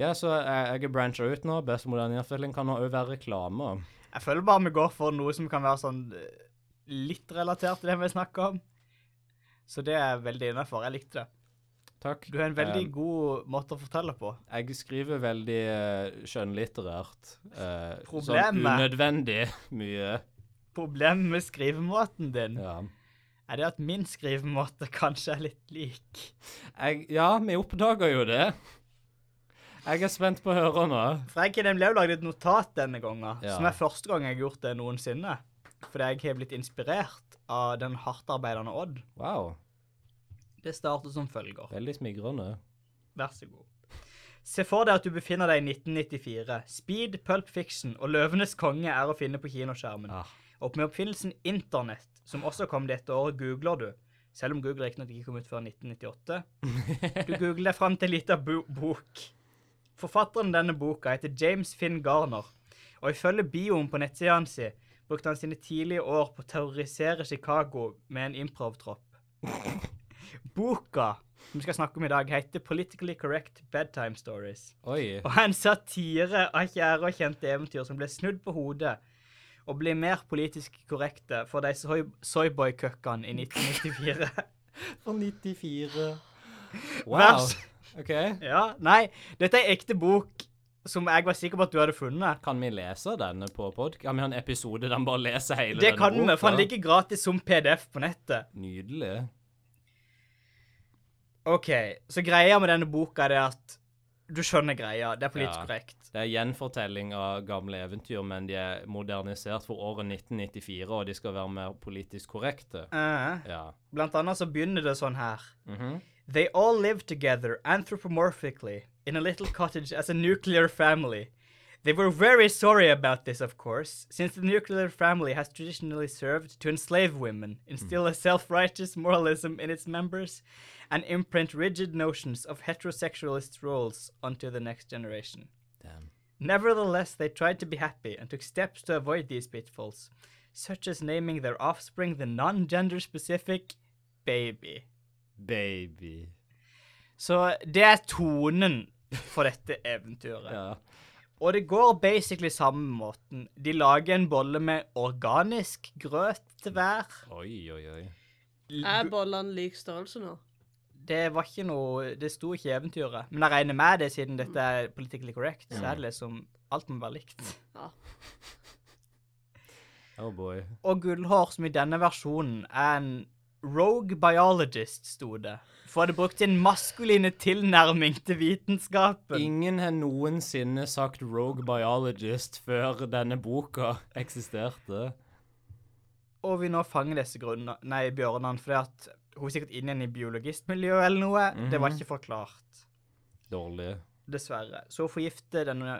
[SPEAKER 3] Ja, så jeg, jeg er brancha ut nå. Best moderne innføring kan òg være reklame.
[SPEAKER 2] Jeg føler bare vi går for noe som kan være sånn eh, litt relatert til det vi snakker om. Så det er veldig innafor. Jeg likte det.
[SPEAKER 3] Takk.
[SPEAKER 2] Du har en veldig
[SPEAKER 3] Eh,
[SPEAKER 2] god måte å fortelle på.
[SPEAKER 3] jeg skriver veldig eh, skjønnlitterært. eh, Sånn
[SPEAKER 2] Problemet-
[SPEAKER 3] unødvendig mye.
[SPEAKER 2] Problemet med skrivemåten din
[SPEAKER 3] Ja.
[SPEAKER 2] er det at min skrivemåte [LAUGHS] kanskje er litt lik.
[SPEAKER 3] Jeg, ja, vi oppdager jo det. Jeg er spent på å høre nå.
[SPEAKER 2] For jeg har nemlig også laget et notat denne gangen,
[SPEAKER 3] Ja.
[SPEAKER 2] som er første gang jeg har gjort det noensinne. Fordi jeg har blitt inspirert av den hardtarbeidende Odd.
[SPEAKER 3] Wow.
[SPEAKER 2] Det starter som følger.
[SPEAKER 3] Veldig smigrende.
[SPEAKER 2] Vær så god. Se for deg at du befinner deg i 1994. Speed, Pulp Fiction og Løvenes konge er å finne på kinoskjermen.
[SPEAKER 3] Ah.
[SPEAKER 2] Og med oppfinnelsen Internett, som også kom dette året, googler du. Selv om Google riktignok ikke kom ut før 1998. Du googler deg fram til en liten bo bok. Forfatteren denne boka heter James Finn Garner, og ifølge bioen på nettsida hans brukte han sine tidlige år på å terrorisere Chicago med en improvtropp. Boka som vi skal snakke om i dag, heter Politically Correct Bedtime Stories
[SPEAKER 3] Oi.
[SPEAKER 2] og en satire av kjære og kjente eventyr som ble snudd på hodet og ble mer politisk korrekte for de soy soyboy-køkkene i 1994.
[SPEAKER 3] For 94.
[SPEAKER 2] Vær
[SPEAKER 3] Wow.
[SPEAKER 2] så-
[SPEAKER 3] OK.
[SPEAKER 2] [LAUGHS] ja, nei, dette er ei ekte bok som jeg var sikker på at du hadde funnet.
[SPEAKER 3] Kan vi lese denne på podkast? Kan vi ha en episode der vi bare leser hele
[SPEAKER 2] Det
[SPEAKER 3] denne
[SPEAKER 2] kan vi,
[SPEAKER 3] boka?
[SPEAKER 2] for den ligger gratis som PDF på nettet.
[SPEAKER 3] Nydelig.
[SPEAKER 2] OK, så greia med denne boka er det at du skjønner greia. Det er politisk
[SPEAKER 3] Ja.
[SPEAKER 2] korrekt.
[SPEAKER 3] Det er gjenfortelling av gamle eventyr, men de er modernisert for året 1994, og de skal være mer politisk korrekte.
[SPEAKER 2] Eh,
[SPEAKER 3] Ja.
[SPEAKER 2] blant annet så begynner det sånn her.
[SPEAKER 3] Mhm.
[SPEAKER 2] They all lived together anthropomorphically in a little cottage as a nuclear family. They were very sorry about this, of course, since the nuclear family has traditionally served to enslave women, instill a self righteous moralism in its members, and imprint rigid notions of heterosexualist roles onto the next generation.
[SPEAKER 3] Damn.
[SPEAKER 2] Nevertheless, they tried to be happy and took steps to avoid these pitfalls, such as naming their offspring the non gender specific baby.
[SPEAKER 3] Baby.
[SPEAKER 2] Så det er tonen for dette eventyret.
[SPEAKER 3] Ja.
[SPEAKER 2] Og det går basically samme måten. De lager en bolle med organisk grøt til hver.
[SPEAKER 3] Oi, oi, oi.
[SPEAKER 4] Er bollene lik størrelse nå?
[SPEAKER 2] Det var ikke noe Det sto ikke i eventyret. Men jeg regner med det, siden dette er politically correct. Så er det liksom Alt må være likt.
[SPEAKER 4] Ja.
[SPEAKER 3] Oh boy.
[SPEAKER 2] Og Gullhår, som i denne versjonen er en rogue biologist, sto det. For det brukte en maskuline tilnærming til vitenskapen.
[SPEAKER 3] Ingen har noensinne sagt rogue biologist før denne boka eksisterte.
[SPEAKER 2] Og vi nå fanger disse grunner, nei, bjørnene, fordi at hun er sikkert inne igjen i biologistmiljøet eller noe. Det var ikke forklart,
[SPEAKER 3] Dårlig.
[SPEAKER 2] dessverre. Så hun forgifter denne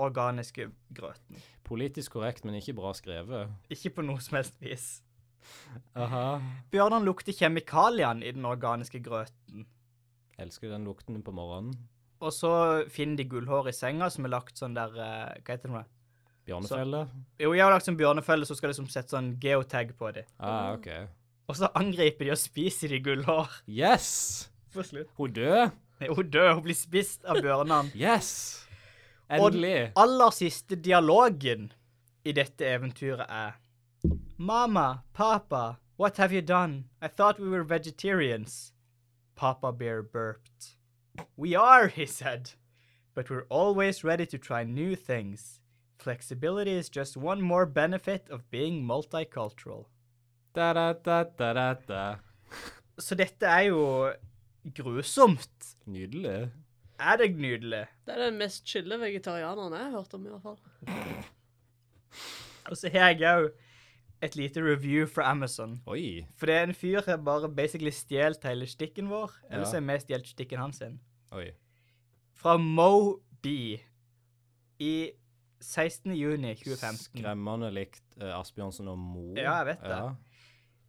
[SPEAKER 2] organiske grøten.
[SPEAKER 3] Politisk korrekt, men ikke bra skrevet.
[SPEAKER 2] Ikke på noe som helst vis.
[SPEAKER 3] Aha.
[SPEAKER 2] Bjørnene lukter kjemikaliene i den organiske grøten.
[SPEAKER 3] Elsker den lukten på morgenen.
[SPEAKER 2] Og så finner de gullhår i senga som er lagt sånn der eh, Hva heter det? nå?
[SPEAKER 3] Bjørnefelle?
[SPEAKER 2] Jo, jeg har lagt sånn bjørnefelle, så skal det som sette sånn geotag på dem.
[SPEAKER 3] Ah, OK.
[SPEAKER 2] Og så angriper de og spiser de gullhår.
[SPEAKER 3] Yes!
[SPEAKER 2] På slutt.
[SPEAKER 3] Hun død?
[SPEAKER 2] Nei, Hun dør, hun blir spist av bjørnene.
[SPEAKER 3] Yes!
[SPEAKER 2] Og den
[SPEAKER 3] Endelig.
[SPEAKER 2] aller siste dialogen i dette eventyret er Mama, papa, what have you done? I thought we were vegetarians. Papa Bear burped. We are, he said. But we're always ready to try new things. Flexibility is just one more benefit of being multicultural.
[SPEAKER 3] Da, da, da, da, da, da.
[SPEAKER 2] Så dette er jo grusomt.
[SPEAKER 3] Nydelig.
[SPEAKER 2] Er det nydelig?
[SPEAKER 4] Det er den mest chille vegetarianeren jeg har hørt om, i hvert fall.
[SPEAKER 2] Og så har jeg òg et lite review fra Amazon.
[SPEAKER 3] Oi.
[SPEAKER 2] For det er en fyr som bare basically stjålet hele stikken vår. Eller så
[SPEAKER 3] Ja.
[SPEAKER 2] er vi stjålet stikken hans sin.
[SPEAKER 3] Oi.
[SPEAKER 2] Fra Moby i 16. juni 2015.
[SPEAKER 3] Skremmende likt eh, Asbjørnsen og Mo.
[SPEAKER 2] Ja, jeg vet det.
[SPEAKER 3] Ja.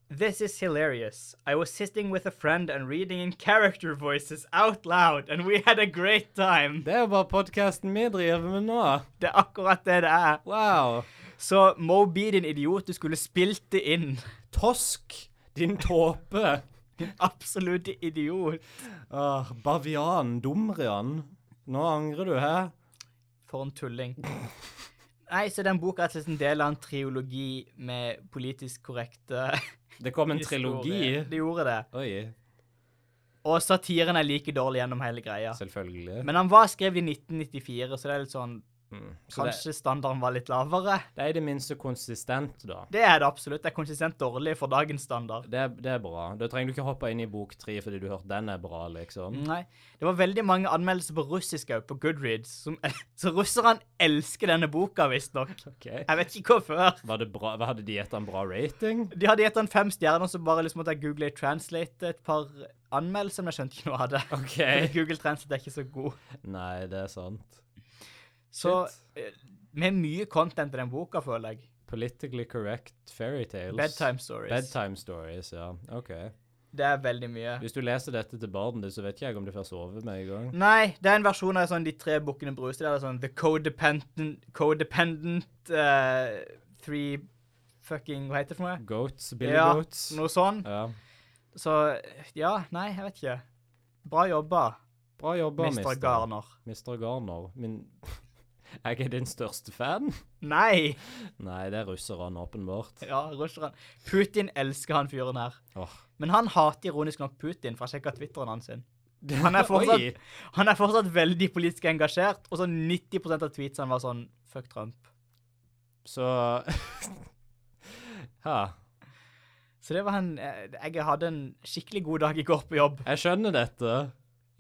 [SPEAKER 2] This is hilarious. I was sitting with a friend and reading in character voices out loud, and we had a great time.
[SPEAKER 3] Det er jo bare podkasten vi driver med nå.
[SPEAKER 2] Det er akkurat det det er.
[SPEAKER 3] Wow.
[SPEAKER 2] Så Moby, din idiot, du skulle spilt det inn. [LAUGHS]
[SPEAKER 3] Tosk, din tåpe.
[SPEAKER 2] Din absolutte idiot.
[SPEAKER 3] Ah, bavian, dumrian. Nå angrer du, hæ?
[SPEAKER 2] For en tulling. Nei, så den boka er rett og slett en del av en triologi med politisk korrekte
[SPEAKER 3] Det kom en
[SPEAKER 2] historie.
[SPEAKER 3] trilogi.
[SPEAKER 2] Det gjorde det.
[SPEAKER 3] Oi.
[SPEAKER 2] Og satiren er like dårlig gjennom hele greia.
[SPEAKER 3] Selvfølgelig.
[SPEAKER 2] Men han var skrevet i 1994, så det er litt sånn
[SPEAKER 3] Mm. Så det,
[SPEAKER 2] Kanskje standarden var litt lavere.
[SPEAKER 3] det er i det minste konsistent, da.
[SPEAKER 2] Det er det absolutt. Det er konsistent dårlig for dagens standard.
[SPEAKER 3] Det, er- det er bra. Da trenger du ikke hoppe inn i bok tre fordi du hørte den er bra, liksom.
[SPEAKER 2] Nei. Det var veldig mange anmeldelser på russisk òg, på Goodreads. Som, [LAUGHS] så russerne elsker denne boka, visstnok.
[SPEAKER 3] Ok.
[SPEAKER 2] Jeg vet ikke hvorfor.
[SPEAKER 3] Var det bra, hva hadde de gitt en bra rating?
[SPEAKER 2] De hadde gitt den fem stjerner, så bare liksom måtte jeg google i translate et par anmeldelser, men jeg skjønte ikke noe av det. [LAUGHS]
[SPEAKER 3] [LAUGHS]
[SPEAKER 2] Fordi
[SPEAKER 3] OK.
[SPEAKER 2] Google translate er ikke så god.
[SPEAKER 3] Nei, det er sant.
[SPEAKER 2] Så
[SPEAKER 3] Shit.
[SPEAKER 2] eh, med mye content i den boka, føler jeg.
[SPEAKER 3] Politically correct fairytales.
[SPEAKER 2] Bedtime stories.
[SPEAKER 3] Bedtime stories, ja. OK.
[SPEAKER 2] Det er veldig mye.
[SPEAKER 3] Hvis du leser dette til barnet ditt, så vet ikke jeg om du får sove med en gang.
[SPEAKER 2] Nei, det er en versjon av sånn de tre bukkene Bruse. Det er sånn The Codependent Codependent eh, Three Fucking Hva heter det for noe?
[SPEAKER 3] Goats, Billy
[SPEAKER 2] ja,
[SPEAKER 3] Goats.
[SPEAKER 2] noe sånn.
[SPEAKER 3] Ja.
[SPEAKER 2] Så ja, nei, jeg vet ikke. Bra jobba,
[SPEAKER 3] Bra jobba,
[SPEAKER 2] Mr. Garner.
[SPEAKER 3] Mr. Garner. Min [LAUGHS] Jeg er din største fan?
[SPEAKER 2] Nei! [LAUGHS]
[SPEAKER 3] Nei, det er russerne, åpenbart.
[SPEAKER 2] Ja, russeren. Putin elsker han fyren her.
[SPEAKER 3] Åh.
[SPEAKER 2] Men han hater ironisk nok Putin, for jeg sjekka Twitteren hans. sin. Han er, fortsatt,
[SPEAKER 3] [LAUGHS] Oi.
[SPEAKER 2] han er fortsatt veldig politisk engasjert, og sånn 90 av tweetsene var sånn Fuck Trump.
[SPEAKER 3] Så [LAUGHS] Ha.
[SPEAKER 2] Så det var en eh, Jeg hadde en skikkelig god dag i går på jobb.
[SPEAKER 3] Jeg skjønner dette.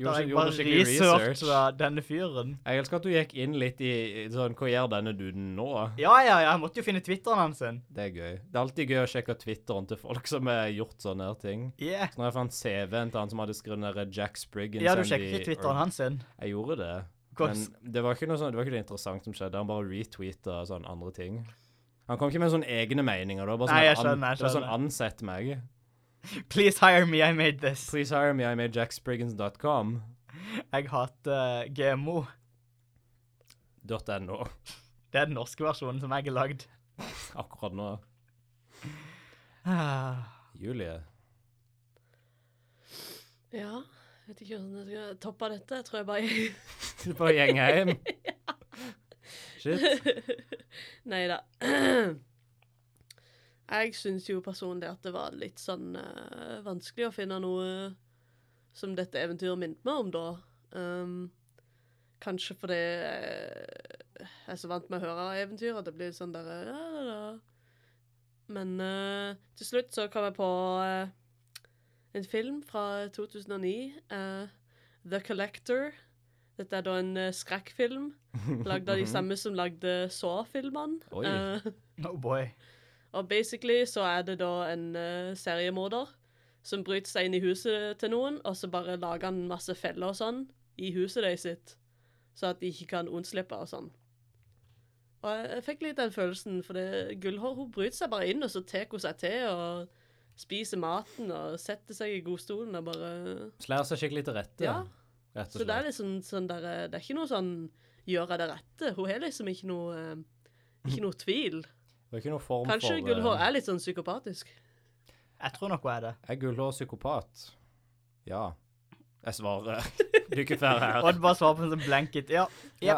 [SPEAKER 2] Da
[SPEAKER 3] Gjorde,
[SPEAKER 2] jeg
[SPEAKER 3] gjorde
[SPEAKER 2] bare
[SPEAKER 3] skikkelig research.
[SPEAKER 2] researcha denne fyren.
[SPEAKER 3] Jeg elsker at du gikk inn litt i i sånn Hva gjør denne duden nå?
[SPEAKER 2] Ja, ja, ja, jeg måtte jo finne Twitteren hans. sin.
[SPEAKER 3] Det er gøy. Det er alltid gøy å sjekke Twitteren til folk som har gjort sånne her ting.
[SPEAKER 2] Yeah.
[SPEAKER 3] Så når jeg fant CV-en til han som hadde skrevet den der Jack Spriggan
[SPEAKER 2] Ja, du
[SPEAKER 3] Sandy
[SPEAKER 2] sjekker ikke Twitteren
[SPEAKER 3] Earp.
[SPEAKER 2] hans. sin.
[SPEAKER 3] Jeg gjorde det. Men
[SPEAKER 2] Hvordan-
[SPEAKER 3] det var ikke noe sånn, det var ikke noe interessant som skjedde. Han bare retweeta sånn andre ting. Han kom ikke med sånne egne meninger. Det var bare sånn,
[SPEAKER 2] Nei, jeg
[SPEAKER 3] an-
[SPEAKER 2] skjønner, jeg
[SPEAKER 3] det var
[SPEAKER 2] skjønner.
[SPEAKER 3] sånn ansett meg.
[SPEAKER 2] [LAUGHS] Please hire me, I made this.
[SPEAKER 3] Please hire me, I made jackspriggans.com.
[SPEAKER 2] Jeg hater eh, GMO.
[SPEAKER 3] .no.
[SPEAKER 2] Det er den norske versjonen som jeg har lagd.
[SPEAKER 3] [LAUGHS] Akkurat nå.
[SPEAKER 2] Ah.
[SPEAKER 3] [LAUGHS] Julie.
[SPEAKER 4] Ja, jeg vet ikke hvordan jeg skal toppe dette. Jeg tror jeg bare
[SPEAKER 3] Du bare gjeng
[SPEAKER 4] [LAUGHS]
[SPEAKER 3] hjem. Shit.
[SPEAKER 4] Nei da. [CLEARS THROAT] Jeg syns jo personlig at det var litt sånn eh, vanskelig å finne noe som dette eventyret minnet meg om, da. Um, kanskje fordi eh, jeg er så vant med å høre eventyr, at det blir sånn derre ja, da, da. Men eh, til slutt så kom jeg på eh, en film fra 2009, eh, The Collector. Dette er da en eh, skrekkfilm lagd av de samme som lagde Saw-filmene.
[SPEAKER 3] Mhm. Oi.
[SPEAKER 4] Eh,
[SPEAKER 2] Oh boy.
[SPEAKER 4] og basically så er det da en eh, seriemorder som bryter seg inn i huset til noen, og så bare lager han masse feller og sånn i huset deres sitt, så at de ikke kan unnslippe og sånn. Og jeg, jeg fikk litt den følelsen, for det, Gullhår hun bryter seg bare inn, og så tar hun seg til og spiser maten og setter seg i godstolen og bare
[SPEAKER 3] Slær seg skikkelig til rette.
[SPEAKER 4] Ja.
[SPEAKER 3] Rett og
[SPEAKER 4] Så det er
[SPEAKER 3] slett.
[SPEAKER 4] liksom sånn der, eh, det er ikke noe sånn gjøre det rette. Hun har liksom ikke noe eh, Ikke noe tvil.
[SPEAKER 3] Det er ikke noe form
[SPEAKER 4] Kanskje
[SPEAKER 3] for eh,
[SPEAKER 4] Gullhår er litt sånn psykopatisk.
[SPEAKER 2] Jeg tror nok hun
[SPEAKER 3] [LAUGHS]
[SPEAKER 2] er det.
[SPEAKER 3] Er Gullhår psykopat? Ja. Jeg
[SPEAKER 4] [LAUGHS]
[SPEAKER 3] svarer. Du er ikke fair her.
[SPEAKER 2] Odd bare svarer på en sånn blanket. Ja.
[SPEAKER 3] Ja,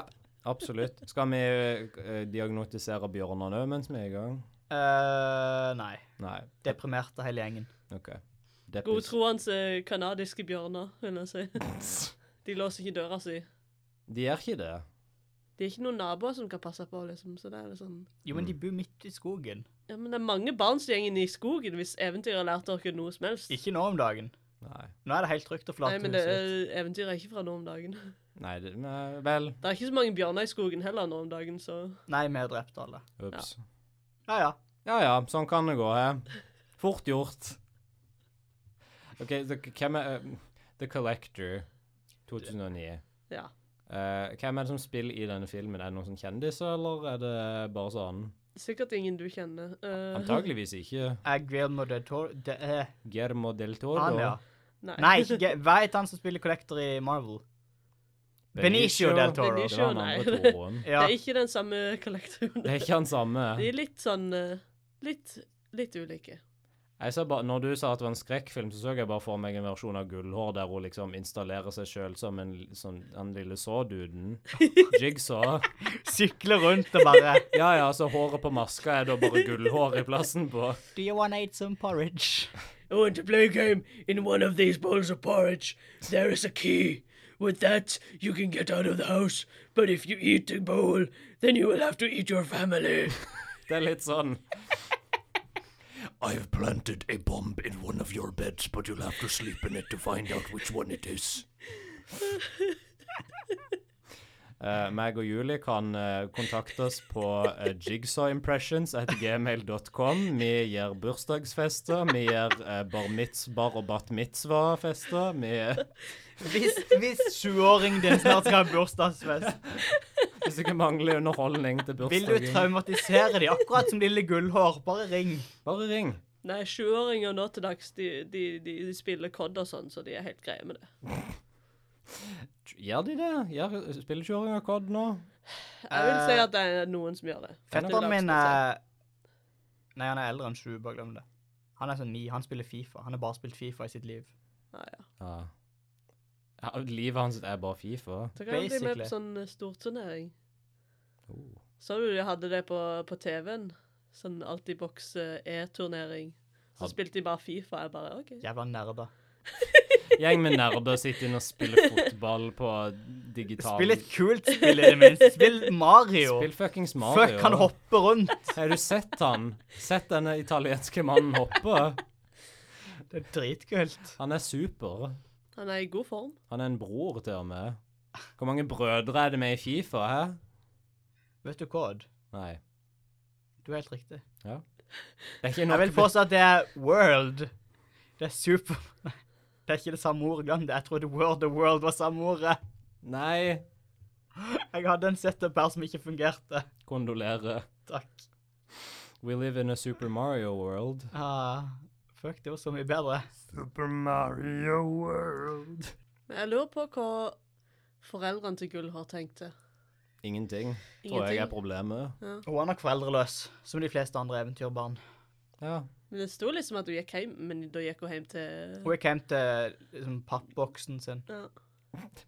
[SPEAKER 3] absolutt. Skal vi eh, diagnostisere bjørnene òg mens vi er i gang?
[SPEAKER 2] eh, nei.
[SPEAKER 3] Nei.
[SPEAKER 2] Deprimerte hele gjengen.
[SPEAKER 3] OK. Deppis.
[SPEAKER 4] Godtroende eh, kanadiske bjørner, vil jeg si. De låser ikke døra si.
[SPEAKER 3] De gjør ikke det.
[SPEAKER 4] Det er ikke noen naboer som kan passe på, liksom. Så det er liksom
[SPEAKER 2] Jo,
[SPEAKER 3] Mm.
[SPEAKER 2] men de bor midt i skogen.
[SPEAKER 4] Ja, men det er mange barn som går inn i skogen hvis eventyret har lært dere noe som helst.
[SPEAKER 2] Ikke nå om dagen.
[SPEAKER 3] Nei.
[SPEAKER 2] Nå er det helt trygt å
[SPEAKER 4] Nei,
[SPEAKER 2] forlate
[SPEAKER 4] men det,
[SPEAKER 2] huset. ditt.
[SPEAKER 4] eventyret er ikke fra nå om dagen. [LAUGHS]
[SPEAKER 3] Nei, det, nei vel.
[SPEAKER 4] Det er ikke så mange bjørner i skogen heller nå om dagen, så
[SPEAKER 2] Nei, vi har drept alle.
[SPEAKER 3] Ups.
[SPEAKER 2] Ja, ja.
[SPEAKER 3] Ja ja, sånn kan det gå. He. Fort gjort. OK, så k- hvem er eh, The Collector 2009.
[SPEAKER 4] ja.
[SPEAKER 3] Eh, hvem er det som spiller i denne filmen? Er det noen sånn kjendiser, eller er det bare sånn?
[SPEAKER 4] Sikkert ingen du kjenner. Eh,
[SPEAKER 3] Antageligvis ikke.
[SPEAKER 2] Jeg Guillermo del Toro de, eh,
[SPEAKER 3] Guillermo del Toro.
[SPEAKER 2] Han, ja.
[SPEAKER 4] [LAUGHS] Nei.
[SPEAKER 2] Nei,
[SPEAKER 4] [LAUGHS]
[SPEAKER 2] ikke Ge- Hva heter han som spiller Collector i Marvel? Benicio del Toro.
[SPEAKER 3] Det var den
[SPEAKER 4] Nei. [LAUGHS]
[SPEAKER 3] andre Toroen.
[SPEAKER 2] Ja.
[SPEAKER 4] Det er ikke den samme kollektoren.
[SPEAKER 3] Det er ikke han samme.
[SPEAKER 4] De er litt sånn eh, litt, litt ulike.
[SPEAKER 3] Jeg sa bare, når du sa at det var en skrekkfilm, så så jeg bare for meg en versjon av Gullhår der hun liksom installerer seg sjøl som en, l- sånn, den lille
[SPEAKER 2] [LAUGHS]
[SPEAKER 3] såduden. Jigsaw.
[SPEAKER 2] [LAUGHS] Sykler rundt og bare
[SPEAKER 3] Ja ja, så håret på maska er da bare gullhår i plassen på.
[SPEAKER 2] [LAUGHS] Do you wanna eat some porridge?
[SPEAKER 4] I want to play a game in one of these bowls of porridge. There is a key. With that, you can get out of the house. But if you eat the bowl, then you will have to eat your
[SPEAKER 5] [LAUGHS]
[SPEAKER 4] family.
[SPEAKER 3] Det er litt sånn.
[SPEAKER 5] I've planted a bomb in one of your beds, but you'll have to sleep in it to find out which one it is.
[SPEAKER 3] Eh, meg og Julie kan eh, kontakte oss på eh, jigsawimpressions at gmail.com. Vi gjør bursdagsfester, vi gjør eh, bar, mitz, bar og bat mitzvah-fester. Vi, eh,
[SPEAKER 2] Hvis, hvis sjuåringen din snart skal ha [LAUGHS] bursdagsfest,
[SPEAKER 3] hvis dere mangler underholdning til
[SPEAKER 2] vil du
[SPEAKER 3] bursdagen,
[SPEAKER 2] traumatisere dem akkurat som lille gullhår? Bare ring.
[SPEAKER 3] bare ring.
[SPEAKER 4] Nei, sjuåringer nå til dags, de, de, de, de spiller COD og sånn, så de er helt greie med det.
[SPEAKER 3] Gjør de det? Gjør, spiller 20-åringer COD nå?
[SPEAKER 4] Jeg vil
[SPEAKER 2] Eh.
[SPEAKER 4] si at det er noen som gjør det.
[SPEAKER 2] Fetteren min er Nei, han er eldre enn sju, bare glem det. Han er sånn ni, han spiller Fifa. Han har bare spilt Fifa i sitt liv.
[SPEAKER 4] Nei, ja.
[SPEAKER 3] Ja. ja. Livet hans er bare Fifa.
[SPEAKER 4] Så kan han bli med
[SPEAKER 2] Basically.
[SPEAKER 4] på sånn eh, storturnering.
[SPEAKER 3] Oh.
[SPEAKER 4] Så du de hadde det på, på TV-en? Sånn Altibox eh, E-turnering. Så
[SPEAKER 3] Had-
[SPEAKER 4] spilte de bare Fifa. Jeg bare OK.
[SPEAKER 2] Jævla nerder.
[SPEAKER 3] Gjeng med nerder sitter inne og spiller fotball på digital
[SPEAKER 2] Spill et kult spill, i det minste. [LAUGHS] Spill Mario.
[SPEAKER 3] Spill fuckings Mario.
[SPEAKER 2] Fuck, han hopper rundt.
[SPEAKER 3] Har du sett han? Sett denne italienske mannen hoppe?
[SPEAKER 2] Det er dritkult.
[SPEAKER 3] Han er super.
[SPEAKER 4] Han er i god form.
[SPEAKER 3] Han er en bror til og med. Hvor mange brødre er det med i Fifa, hæ?
[SPEAKER 2] Vet du hva, Odd?
[SPEAKER 3] Nei.
[SPEAKER 2] Du er helt riktig.
[SPEAKER 3] Det er ikke
[SPEAKER 2] Jeg
[SPEAKER 3] nok
[SPEAKER 2] vil påstå at det er world. Det er super... [LAUGHS] Nei, Det er ikke det samme ordet, glem det. Jeg trodde world og world var samme ordet.
[SPEAKER 3] Nei.
[SPEAKER 2] Jeg hadde en setup her som ikke fungerte.
[SPEAKER 3] Kondolerer.
[SPEAKER 2] Takk.
[SPEAKER 3] We live in a Super Mario world.
[SPEAKER 2] Ah, fuck, det var så mye bedre.
[SPEAKER 5] Super Mario World.
[SPEAKER 4] Men jeg lurer på hva foreldrene til Gull har tenkt til.
[SPEAKER 3] Ingenting. Tror jeg er
[SPEAKER 4] Ingenting.
[SPEAKER 3] problemet.
[SPEAKER 2] Hun er nok foreldreløs, som de fleste andre eventyrbarn.
[SPEAKER 3] Ja.
[SPEAKER 4] Men det sto liksom at hun gikk hjem, men da gikk hun hjem til
[SPEAKER 2] Hun gikk hjem til liksom, pappboksen sin.
[SPEAKER 4] ja.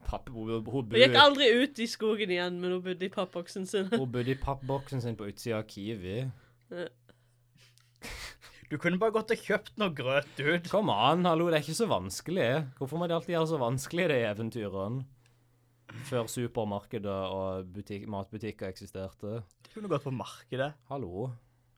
[SPEAKER 3] Papp, hun, hun,
[SPEAKER 4] Hun gikk
[SPEAKER 3] bodde,
[SPEAKER 4] aldri ut i skogen igjen, men hun bodde i pappboksen sin. [LAUGHS]
[SPEAKER 3] hun bodde i pappboksen sin på utsida av Kiwi.
[SPEAKER 2] Du kunne bare gått og kjøpt noe grøt, dude.
[SPEAKER 3] Kom an, hallo, det er ikke så vanskelig. Hvorfor må de alltid gjøre så vanskelig det i eventyrene? Før supermarkedet og butikk, matbutikker eksisterte.
[SPEAKER 2] Du kunne gått på markedet.
[SPEAKER 3] Hallo.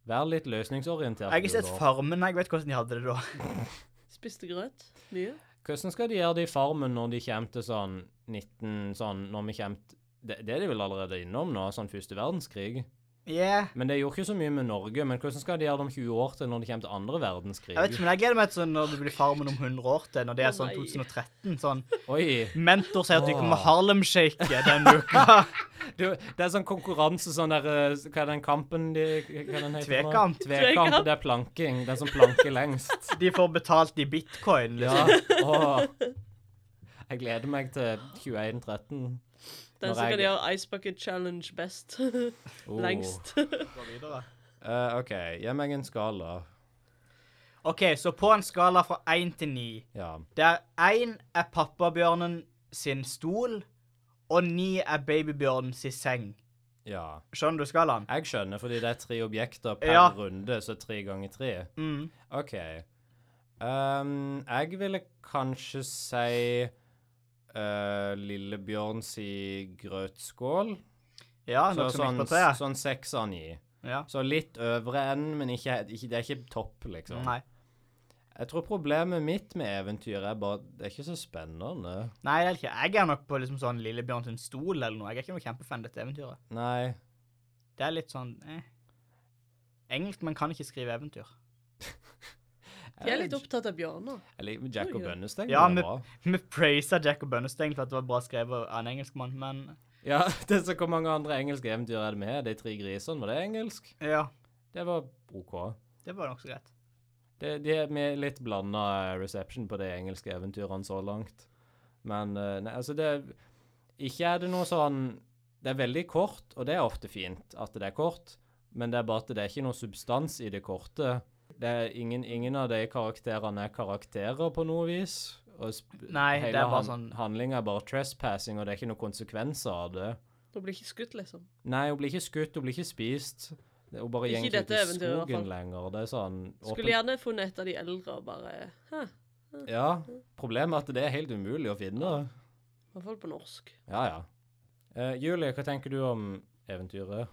[SPEAKER 3] Vær litt løsningsorientert.
[SPEAKER 2] Jeg har ikke
[SPEAKER 3] du,
[SPEAKER 2] sett
[SPEAKER 3] da.
[SPEAKER 2] Farmen, jeg vet hvordan de hadde det da.
[SPEAKER 4] Spiste grøt mye.
[SPEAKER 3] Hvordan skal de gjøre det i Farmen når de kommer til sånn 19 sånn, når vi kommer til det, det er de vel allerede innom nå, sånn første verdenskrig.
[SPEAKER 2] Yeah.
[SPEAKER 3] Men det gjorde ikke så mye med Norge. Men hvordan skal de gjøre det om 20 år til når de kommer til andre verdenskrig?
[SPEAKER 2] Jeg vet ikke, men jeg gleder meg til sånn når det blir Farmen om 100 år til, når det er sånn
[SPEAKER 4] Å, nei.
[SPEAKER 2] 2013. Sånn
[SPEAKER 3] Oi.
[SPEAKER 2] Mentor sier at du ikke må
[SPEAKER 3] Åh.
[SPEAKER 2] Harlem-shake denne
[SPEAKER 3] [LAUGHS]
[SPEAKER 2] uka.
[SPEAKER 3] Du, det er sånn konkurranse, sånn der eh, Hva er den kampen de hva er den heter nå?
[SPEAKER 2] Tvekamp.
[SPEAKER 3] Tvekamp.
[SPEAKER 4] Tvekamp.
[SPEAKER 3] Det er planking. Den som planker
[SPEAKER 4] [LAUGHS]
[SPEAKER 3] lengst.
[SPEAKER 2] De får betalt i bitcoin.
[SPEAKER 3] Ja.
[SPEAKER 2] Liksom.
[SPEAKER 3] Åh. Jeg gleder meg til 2113.
[SPEAKER 4] Den
[SPEAKER 3] Når
[SPEAKER 4] som
[SPEAKER 3] jeg-
[SPEAKER 4] kan gjøre Ice Bucket Challenge best. [LAUGHS]
[SPEAKER 3] Oh.
[SPEAKER 4] Lengst.
[SPEAKER 2] Gå videre.
[SPEAKER 3] Eh, OK, gi meg en skala.
[SPEAKER 2] OK, så på en skala fra én til ni,
[SPEAKER 3] Ja.
[SPEAKER 2] der én er pappabjørnen sin stol, og ni er babybjørnen sin seng.
[SPEAKER 3] ja.
[SPEAKER 2] Skjønner du skalaen?
[SPEAKER 3] Jeg skjønner, fordi det er tre objekter per
[SPEAKER 2] Ja.
[SPEAKER 3] runde, så tre ganger tre.
[SPEAKER 2] Mm.
[SPEAKER 3] OK. Ehm, jeg ville kanskje si eh, Lillebjørn si grøtskål.
[SPEAKER 2] Ja,
[SPEAKER 3] Så
[SPEAKER 2] noe som
[SPEAKER 3] sånn,
[SPEAKER 2] gikk på treet.
[SPEAKER 3] sånn seks av ni.
[SPEAKER 2] Ja.
[SPEAKER 3] Så litt øvre enn, men ikke, ikke, det er ikke topp, liksom.
[SPEAKER 2] Nei.
[SPEAKER 3] Jeg tror problemet mitt med eventyr er bare Det er ikke så spennende.
[SPEAKER 2] Nei, det er ikke. Jeg er nok på liksom sånn Lillebjørn sin stol eller noe. Jeg er ikke noe kjempefan av dette eventyret.
[SPEAKER 3] Nei.
[SPEAKER 2] Det er litt sånn eh. Engelskmenn kan ikke skrive eventyr. [LAUGHS]
[SPEAKER 4] De er litt opptatt av bjørner.
[SPEAKER 3] Jeg liker Jack og Bønnesteng.
[SPEAKER 2] Ja,
[SPEAKER 3] det er
[SPEAKER 2] men-
[SPEAKER 3] bra.
[SPEAKER 2] Vi praiser Jack og Bønnestein for at det var bra skrevet av en engelskmann, men
[SPEAKER 3] Ja, [LAUGHS] det er så Hvor mange andre engelske eventyr er det med? De tre grisene, var det engelsk?
[SPEAKER 2] ja,
[SPEAKER 3] Det var OK.
[SPEAKER 2] det var nokså greit.
[SPEAKER 3] Det, de er med litt blanda reception på de engelske eventyrene så langt. Men eh, nei, altså det Ikke er det noe sånn Det er veldig kort, og det er ofte fint at det er kort, men det er bare at det er ikke noe substans i det korte. Det er ingen, ingen av de karakterene er karakterer på noe vis. Og sp-
[SPEAKER 2] Nei, det er bare sånn-
[SPEAKER 3] handlinga er bare trespassing, og det er ikke noen konsekvenser av det.
[SPEAKER 4] Da blir ikke skutt, liksom.
[SPEAKER 3] Nei, hun blir ikke skutt, hun blir ikke spist. Det- Hun bare
[SPEAKER 4] Ikke
[SPEAKER 3] går
[SPEAKER 4] i
[SPEAKER 3] ikke ut
[SPEAKER 4] dette
[SPEAKER 3] i
[SPEAKER 4] eventyret, i hvert fall.
[SPEAKER 3] skogen lenger. Det er sånn åpen-
[SPEAKER 4] Skulle gjerne funnet et av de eldre og bare Hæ?
[SPEAKER 3] Ja, problemet er at det er helt umulig å finne.
[SPEAKER 4] I hvert fall på norsk.
[SPEAKER 3] Ja, ja. Eh, Julie, hva tenker du om eventyret?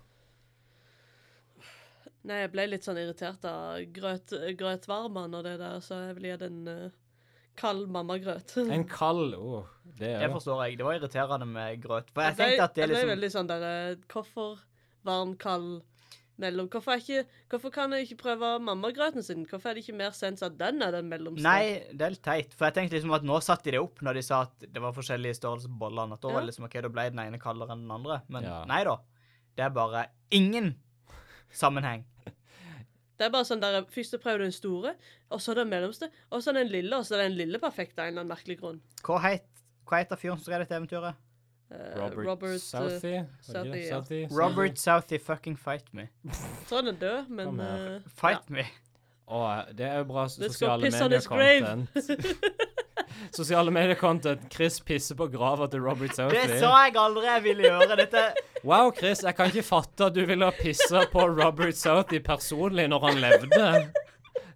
[SPEAKER 4] Nei, jeg ble litt sånn irritert av grøt, grøtvarmen og det der, så jeg vil gi den eh, kald mammagrøt. [LAUGHS] Jeg
[SPEAKER 3] En kald Åh, det
[SPEAKER 2] Det
[SPEAKER 3] er jo
[SPEAKER 2] forstår jeg. Det var irriterende med grøt. For jeg
[SPEAKER 4] ble,
[SPEAKER 2] tenkte at det
[SPEAKER 4] Altså, jeg ble
[SPEAKER 2] liksom
[SPEAKER 4] veldig sånn der eh, Hvorfor varm, kald, mellom? Hvorfor, er ikke, hvorfor kan jeg ikke prøve mammagrøten sin? Hvorfor er det ikke mer sens at den er den mellomste?
[SPEAKER 2] Nei, det er litt teit. For jeg tenkte liksom at nå satte de det opp når de sa at det var forskjellige størrelser på bollene. At da
[SPEAKER 4] Ja.
[SPEAKER 2] var det liksom, ok, da ble den ene kaldere enn den andre. Men
[SPEAKER 3] Ja.
[SPEAKER 2] nei da. Det er bare ingen sammenheng.
[SPEAKER 4] Det er bare sånn der Først så prøver du den store, og så den mellomste, og så den lille, og så den lille perfekte av en eller annen merkelig grunn.
[SPEAKER 2] Hva het, hva heter fyren som skrev dette eventyret?
[SPEAKER 4] Eh,
[SPEAKER 3] Robert,
[SPEAKER 4] eh,
[SPEAKER 3] Southey. var det
[SPEAKER 4] Southey,
[SPEAKER 3] ikke det?
[SPEAKER 4] ja.
[SPEAKER 3] Southey?
[SPEAKER 2] Robert Southey fucking fight me.
[SPEAKER 4] Jeg tror han er død, men
[SPEAKER 3] Kom her.
[SPEAKER 4] eh, ja.
[SPEAKER 2] Fight me.
[SPEAKER 3] Å, det er jo bra
[SPEAKER 4] go
[SPEAKER 3] sosiale
[SPEAKER 4] piss on his grave.
[SPEAKER 3] medier-content. [LAUGHS] sosiale medier-content. Chris pisser på grava til Robert
[SPEAKER 2] Det
[SPEAKER 3] Southey.
[SPEAKER 2] sa jeg aldri jeg ville gjøre. Dette
[SPEAKER 3] Wow, Chris, jeg kan ikke fatte at du ville pisse på Robert Southey personlig når han levde.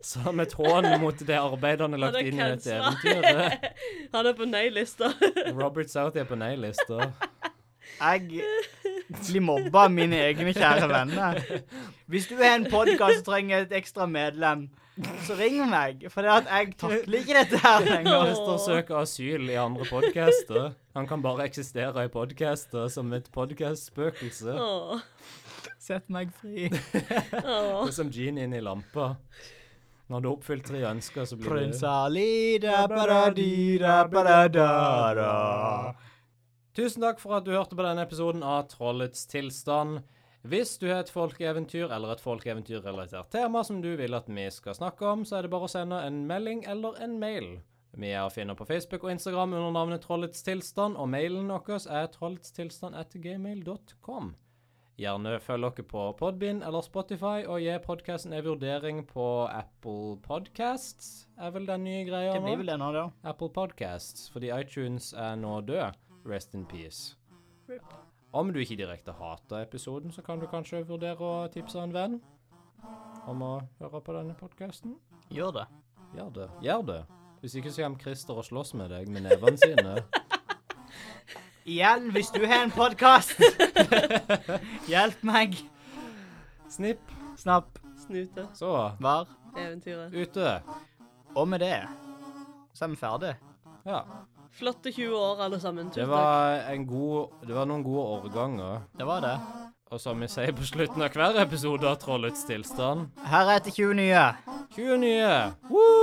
[SPEAKER 3] Som et hån mot det arbeidet han har
[SPEAKER 4] Ja,
[SPEAKER 3] lagt
[SPEAKER 4] det
[SPEAKER 3] inn i dette
[SPEAKER 4] cancela.
[SPEAKER 3] eventyret.
[SPEAKER 4] Han er på nei-lista.
[SPEAKER 3] Robert Southey er på nei-lista.
[SPEAKER 2] Jeg blir mobba av mine egne kjære venner. Hvis du har en podkast og trenger et ekstra medlem, så ring meg. For det at jeg takler ikke dette her lenger.
[SPEAKER 3] Christer søker asyl i andre podcaster. Han kan bare eksistere i podcaster som et podcastspøkelse.
[SPEAKER 4] [LAUGHS] Åh,
[SPEAKER 2] Sett meg fri.
[SPEAKER 4] åh.
[SPEAKER 3] Det er som genien i lampa. Når du har oppfylt tre ønsker, så blir
[SPEAKER 2] Prins
[SPEAKER 3] du
[SPEAKER 2] Ali da ba da da da
[SPEAKER 3] Tusen takk for at du hørte på denne episoden av Trollets tilstand. Hvis du har et folkeeventyr eller et folkeeventyrrelatert tema som du vil at vi skal snakke om, så er det bare å sende en melding eller en mail. Vi er å finne på Facebook og Instagram under navnet Trollets tilstand, og mailen vår er trolletstilstand.gmail.com. Gjerne følg dere på Podbind eller Spotify, og gi podkasten en vurdering på Apple Podcasts, er vel den nye greia
[SPEAKER 2] Det blir vel det nå, da.
[SPEAKER 3] Apple Podcasts, fordi iTunes er nå død. Rest in peace. Om du ikke direkte hater episoden, så kan du kanskje vurdere å tipse en venn om å høre på denne podkasten.
[SPEAKER 2] Gjør det.
[SPEAKER 3] Gjør det. Gjør det. Hvis ikke så kommer Christer og slåss med deg med nevene sine.
[SPEAKER 2] Igjen, hvis du har en podkast, hjelp meg.
[SPEAKER 3] Snipp.
[SPEAKER 2] Snapp.
[SPEAKER 4] Snute.
[SPEAKER 3] Så,
[SPEAKER 2] Var.
[SPEAKER 4] Eventyret.
[SPEAKER 3] ute.
[SPEAKER 2] Og med det så er vi ferdig.
[SPEAKER 3] Ja.
[SPEAKER 4] Flotte 20 år, alle sammen.
[SPEAKER 3] Det
[SPEAKER 4] Tusen takk.
[SPEAKER 3] var, en god, det var noen gode årganger.
[SPEAKER 2] Det var det.
[SPEAKER 3] Og som vi sier på slutten av hver episode av Trollets tilstand
[SPEAKER 2] Her er etter 20 nye.
[SPEAKER 3] 20 nye! Woo!